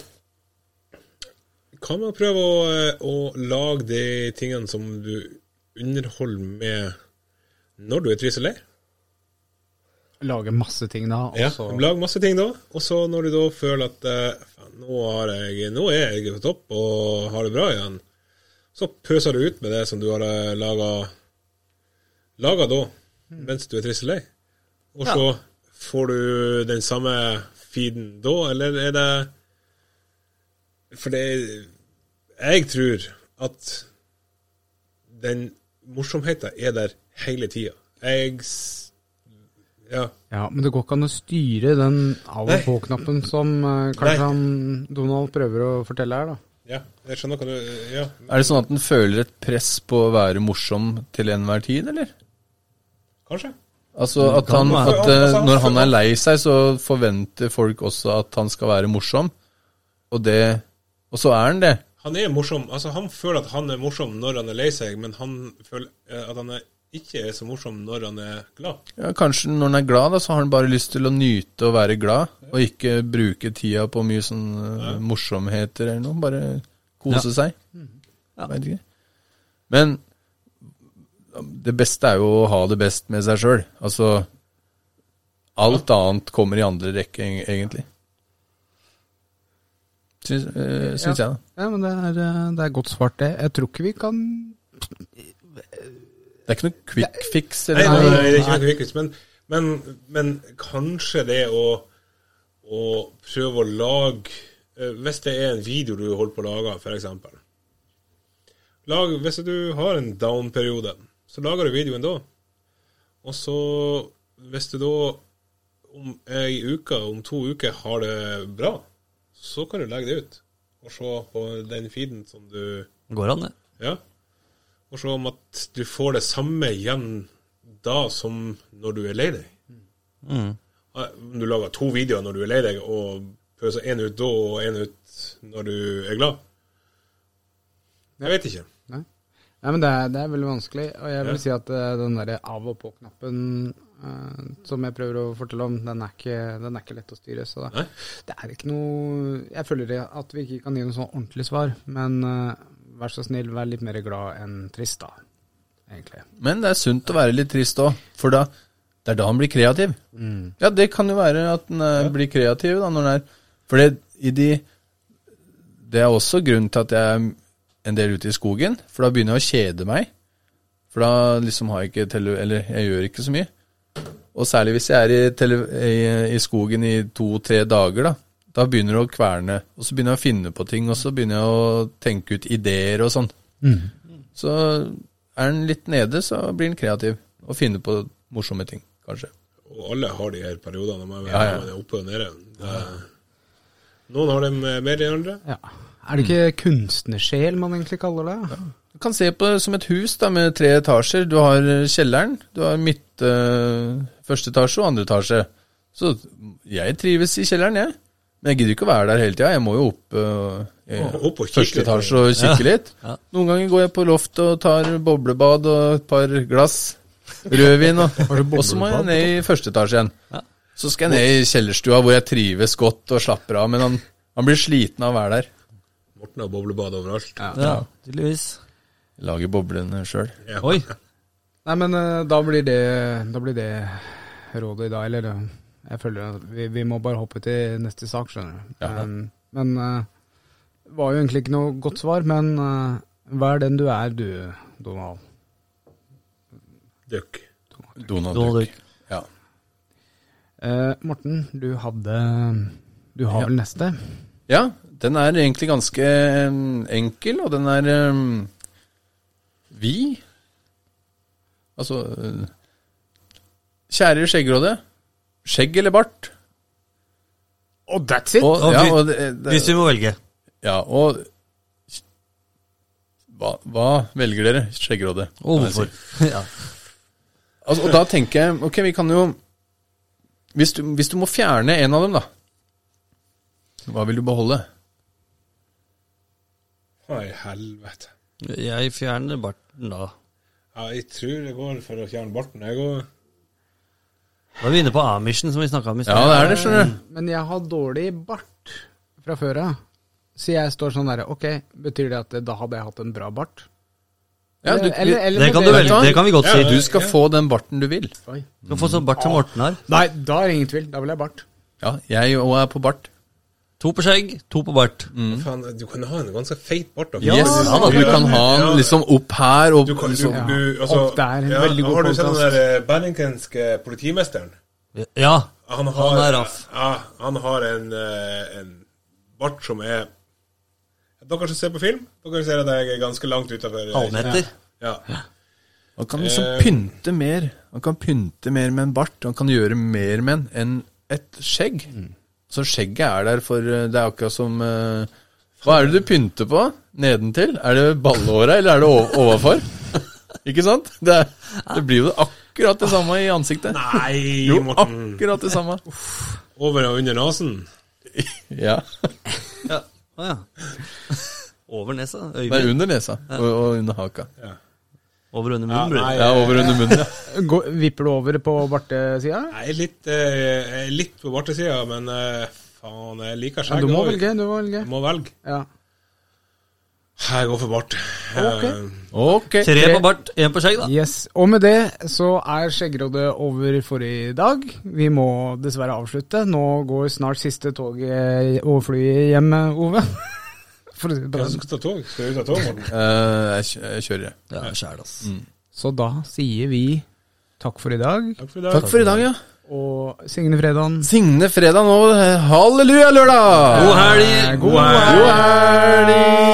Speaker 5: kan man prøve å, eh, å lage de tingene som du underholder med når du er trist og lei?
Speaker 2: Lager masse ting da. altså. og
Speaker 5: Ja,
Speaker 2: så-
Speaker 5: Lag masse ting da, og så når du da føler at eh, faen, nå, har jeg, nå er jeg på topp og har det bra igjen, så pøser du ut med det som du har eh, laga laga da,
Speaker 2: Mm.
Speaker 5: mens du er trist og lei. Og så får du den samme feeden da, eller er det For det Jeg tror at den morsomheten er der hele tida. Jeg s- Ja.
Speaker 2: Ja, men det går ikke an å styre den av og
Speaker 5: Nei.
Speaker 2: på-knappen som eh,
Speaker 5: Nei.
Speaker 2: kanskje han Donald prøver å fortelle her, da.
Speaker 5: Ja, jeg skjønner hva du Ja.
Speaker 3: Er det sånn at en føler et press på å være morsom til enhver tid, eller?
Speaker 5: Kanskje.
Speaker 3: Altså at, han,
Speaker 4: være.
Speaker 3: at eh, når han er lei seg, så forventer folk også at han skal være morsom. Og det Og så er han det.
Speaker 5: Han er morsom. Altså, han føler at han er morsom når han er lei seg, men han føler eh, at han er, ikke er så morsom når han er glad.
Speaker 3: Ja, kanskje når han er glad, da, så har han bare lyst til å nyte og være glad, og ikke bruke tida på mye sånn eh, morsomheter eller noe. Bare kose seg.
Speaker 5: Mhm.
Speaker 3: Vet ikke. Men det beste er jo å ha det best med seg sjøl. Altså Alt annet kommer i andre rekke, eg- egentlig. Syns, eh, syns jeg, da.
Speaker 2: Ja, men det er, eh, det er godt svart, det. Jeg tror ikke vi kan
Speaker 3: Det er ikke noe quick fix
Speaker 5: Nei,
Speaker 3: eller
Speaker 5: nei,
Speaker 3: noe.
Speaker 5: nei, det er ikke noe viktig, men, men, men kanskje det å, å prøve å lage eh, Hvis det er en video du holder på å lage, f.eks. Lag, hvis du har en down-periode, så lager du videoen da. Og så, hvis du da om ei uke, om to uker, har det bra, så kan du legge det ut. Og se på den feeden som du
Speaker 4: Går an, det.
Speaker 5: ja. Og se om at du får det samme igjen da som når du er lei deg.
Speaker 4: Mm.
Speaker 5: Ja, Om du lager to videoer når du er lei deg, og pøser én ut da og én ut når du er glad. Jeg vet ikke.
Speaker 2: Nei, nei men det er, det er veldig vanskelig. Og jeg vil
Speaker 5: Ja.
Speaker 2: si at eh, den derre av og på-knappen eh, som jeg prøver å fortelle om, den er ikke, den er ikke lett å styre. Så det,
Speaker 5: Nei.
Speaker 2: det er ikke noe Jeg føler det at vi ikke kan gi noe sånn ordentlig svar, men eh, vær så snill, vær litt mer glad enn trist, da. Egentlig.
Speaker 3: Men det er sunt å være litt trist òg, for da, det er da han blir kreativ. Ja, det kan jo være at han eh, blir kreativ da, når han er For det, i de, det er også grunnen til at jeg er en del ute i skogen, for da begynner jeg å kjede meg. For da liksom har jeg ikke tele... Eller jeg gjør ikke så mye. Og særlig hvis jeg er i, tele, i, i skogen i to-tre dager, da. Da begynner det å kverne. Og så begynner jeg å finne på ting, og så begynner jeg å tenke ut ideer og sånn. Så er han litt nede, så blir han kreativ og finner på morsomme ting, kanskje.
Speaker 5: Og alle har de her periodene når man
Speaker 3: Ja, ja.
Speaker 5: når man er oppe og nede. Det er- Noen har dem eh, mer enn andre.
Speaker 2: Ja. Er
Speaker 5: Mm.
Speaker 2: det ikke kunstnersjel man egentlig kaller det?
Speaker 3: Du kan se på det som et hus da, med tre etasjer. Du har eh, kjelleren, du har midt, eh, første etasje og andre etasje. Så jeg trives i kjelleren, jeg. Men jeg gidder ikke å være der hele tida. Jeg må jo opp, eh, i
Speaker 5: Opp og kikke
Speaker 3: første
Speaker 5: litt.
Speaker 3: etasje og kikke litt. Noen ganger går jeg på loftet og tar boblebad og et par glass rødvin. Og, og så må jeg ned i første etasje igjen. Så skal jeg ned i kjellerstua hvor jeg trives godt og slapper av. Men han, han blir sliten av å være der.
Speaker 5: Morten har boblebad overalt.
Speaker 4: Ja, tydeligvis.
Speaker 3: Lager boblene sjøl.
Speaker 5: Ja.
Speaker 4: Oi.
Speaker 2: Nei, men eh, da blir det, da blir det rådet i dag, eller eh, Jeg føler at vi, vi må bare hoppe til neste sak, skjønner du.
Speaker 3: Ja.
Speaker 2: Um, men eh, var jo egentlig ikke noe godt svar, men eh, hva er den du er, du, Donald?
Speaker 5: Dukk.
Speaker 3: Donald
Speaker 4: Donald
Speaker 3: Duck. Ja.
Speaker 2: Eh, Morten, du hadde Du har
Speaker 3: Ja.
Speaker 2: vel neste?
Speaker 3: Ja, den er egentlig ganske eh, enkel, og den er eh, Vi Altså eh, Kjære skjeggråde. Skjegg eller bart?
Speaker 2: Og that's it!
Speaker 3: Og,
Speaker 4: Og
Speaker 3: ja,
Speaker 4: vi-
Speaker 3: og, det, eh, det,
Speaker 4: Hvis vi må velge.
Speaker 3: ja, og hva, hva velger dere? Skjeggråde.
Speaker 4: Og
Speaker 3: kan jeg si.
Speaker 4: hvorfor. Ja.
Speaker 3: Altså, og da tenker jeg Ok, vi kan jo hvis du, hvis du må fjerne en av dem, da. Hva vil du beholde?
Speaker 5: Å, i helvete.
Speaker 4: Jeg fjerner barten da.
Speaker 5: Ja, jeg tror det går for å fjerne barten, jeg òg.
Speaker 4: Da er vi inne på Amishen, som vi snakka om i
Speaker 3: Ja, det er det, skjønner du.
Speaker 2: Men jeg har dårlig bart fra før av. Så jeg står sånn derre Ok, betyr det at eh, da hadde jeg hatt en bra bart?
Speaker 3: Ja, du,
Speaker 2: Eller- eller-
Speaker 4: Det kan, du velge, det kan vi godt si.
Speaker 3: du skal få den barten du vil.
Speaker 2: Oi.
Speaker 4: Du skal få sånn bart som Morten har.
Speaker 2: Nei, da er det ingen tvil. Da vil jeg ha bart.
Speaker 3: Ja, jeg òg er på bart.
Speaker 4: To på skjegg, to på bart.
Speaker 5: Faen, du kan ha en ganske feit bart. da.
Speaker 3: Mm. Yes,
Speaker 5: Ja,
Speaker 3: at du kan ha den
Speaker 5: ja.
Speaker 3: liksom opp her og
Speaker 5: Du kan, du,
Speaker 3: liksom,
Speaker 2: Ja.
Speaker 5: du, altså,
Speaker 2: Opp der, en veldig god
Speaker 5: Har du sett den
Speaker 2: kontrast.
Speaker 5: der eh, berlingenske politimesteren?
Speaker 4: Ja.
Speaker 5: Han har,
Speaker 4: Han er raff.
Speaker 5: Ja, han har en, eh, en bart som er Dere som ser på film, dere ser at jeg er ganske langt utafor
Speaker 4: Halvmeter.
Speaker 5: Ja.
Speaker 3: Han kan liksom
Speaker 5: Eh.
Speaker 3: pynte mer. Han kan pynte mer med en bart. Han kan gjøre mer med en enn et skjegg.
Speaker 5: Mm.
Speaker 3: Så skjegget er der for eh, Det er akkurat som eh, Hva er det du pynter på nedentil? Er det ballehåra, eller er det o- overfor? Ikke sant? Det, er- det blir jo akkurat det samme i ansiktet.
Speaker 5: Nei,
Speaker 3: Jo,
Speaker 5: Morten.
Speaker 3: akkurat det samme.
Speaker 5: Over og under nesen.
Speaker 3: Ja.
Speaker 4: Ja. Å ja. Over nesa.
Speaker 3: Det er
Speaker 4: Øyvind.
Speaker 3: under nesa og, og under haka.
Speaker 4: Over og under munnen.
Speaker 5: nei.
Speaker 4: bror.
Speaker 3: Ja, over under munnen.
Speaker 2: Gå, vipper du over på bartesida?
Speaker 5: Jeg er litt, eh, jeg er litt på bartesida, men eh, faen, jeg
Speaker 2: Ja,
Speaker 5: liker
Speaker 2: du
Speaker 5: skjegg.
Speaker 2: må
Speaker 5: også.
Speaker 2: velge. Du må velge.
Speaker 5: Du må velge.
Speaker 2: Ja.
Speaker 5: Jeg går for bart.
Speaker 2: Ok.
Speaker 5: Eh,
Speaker 3: Ok.
Speaker 4: Tre på bart, én på skjegg, da.
Speaker 2: Yes, Og med det så er Skjeggerådet over for i dag. Vi må dessverre avslutte. Nå går snart siste toget og flyet hjem, Ove. For å si det på
Speaker 5: Hvem
Speaker 2: den.
Speaker 5: skal ta tog? Skal du ta tog, Morten?
Speaker 3: Eh, jeg kjø- jeg kjører, jeg.
Speaker 4: Ja, sjæl, ass.
Speaker 2: Så da sier vi takk for i dag,
Speaker 5: Takk for i dag.
Speaker 3: Takk for i dag, ja.
Speaker 2: og Signe Fredan.
Speaker 3: Signe fredag nå. Halleluja, lørdag!
Speaker 4: God helg!
Speaker 2: God helg!
Speaker 3: God helg!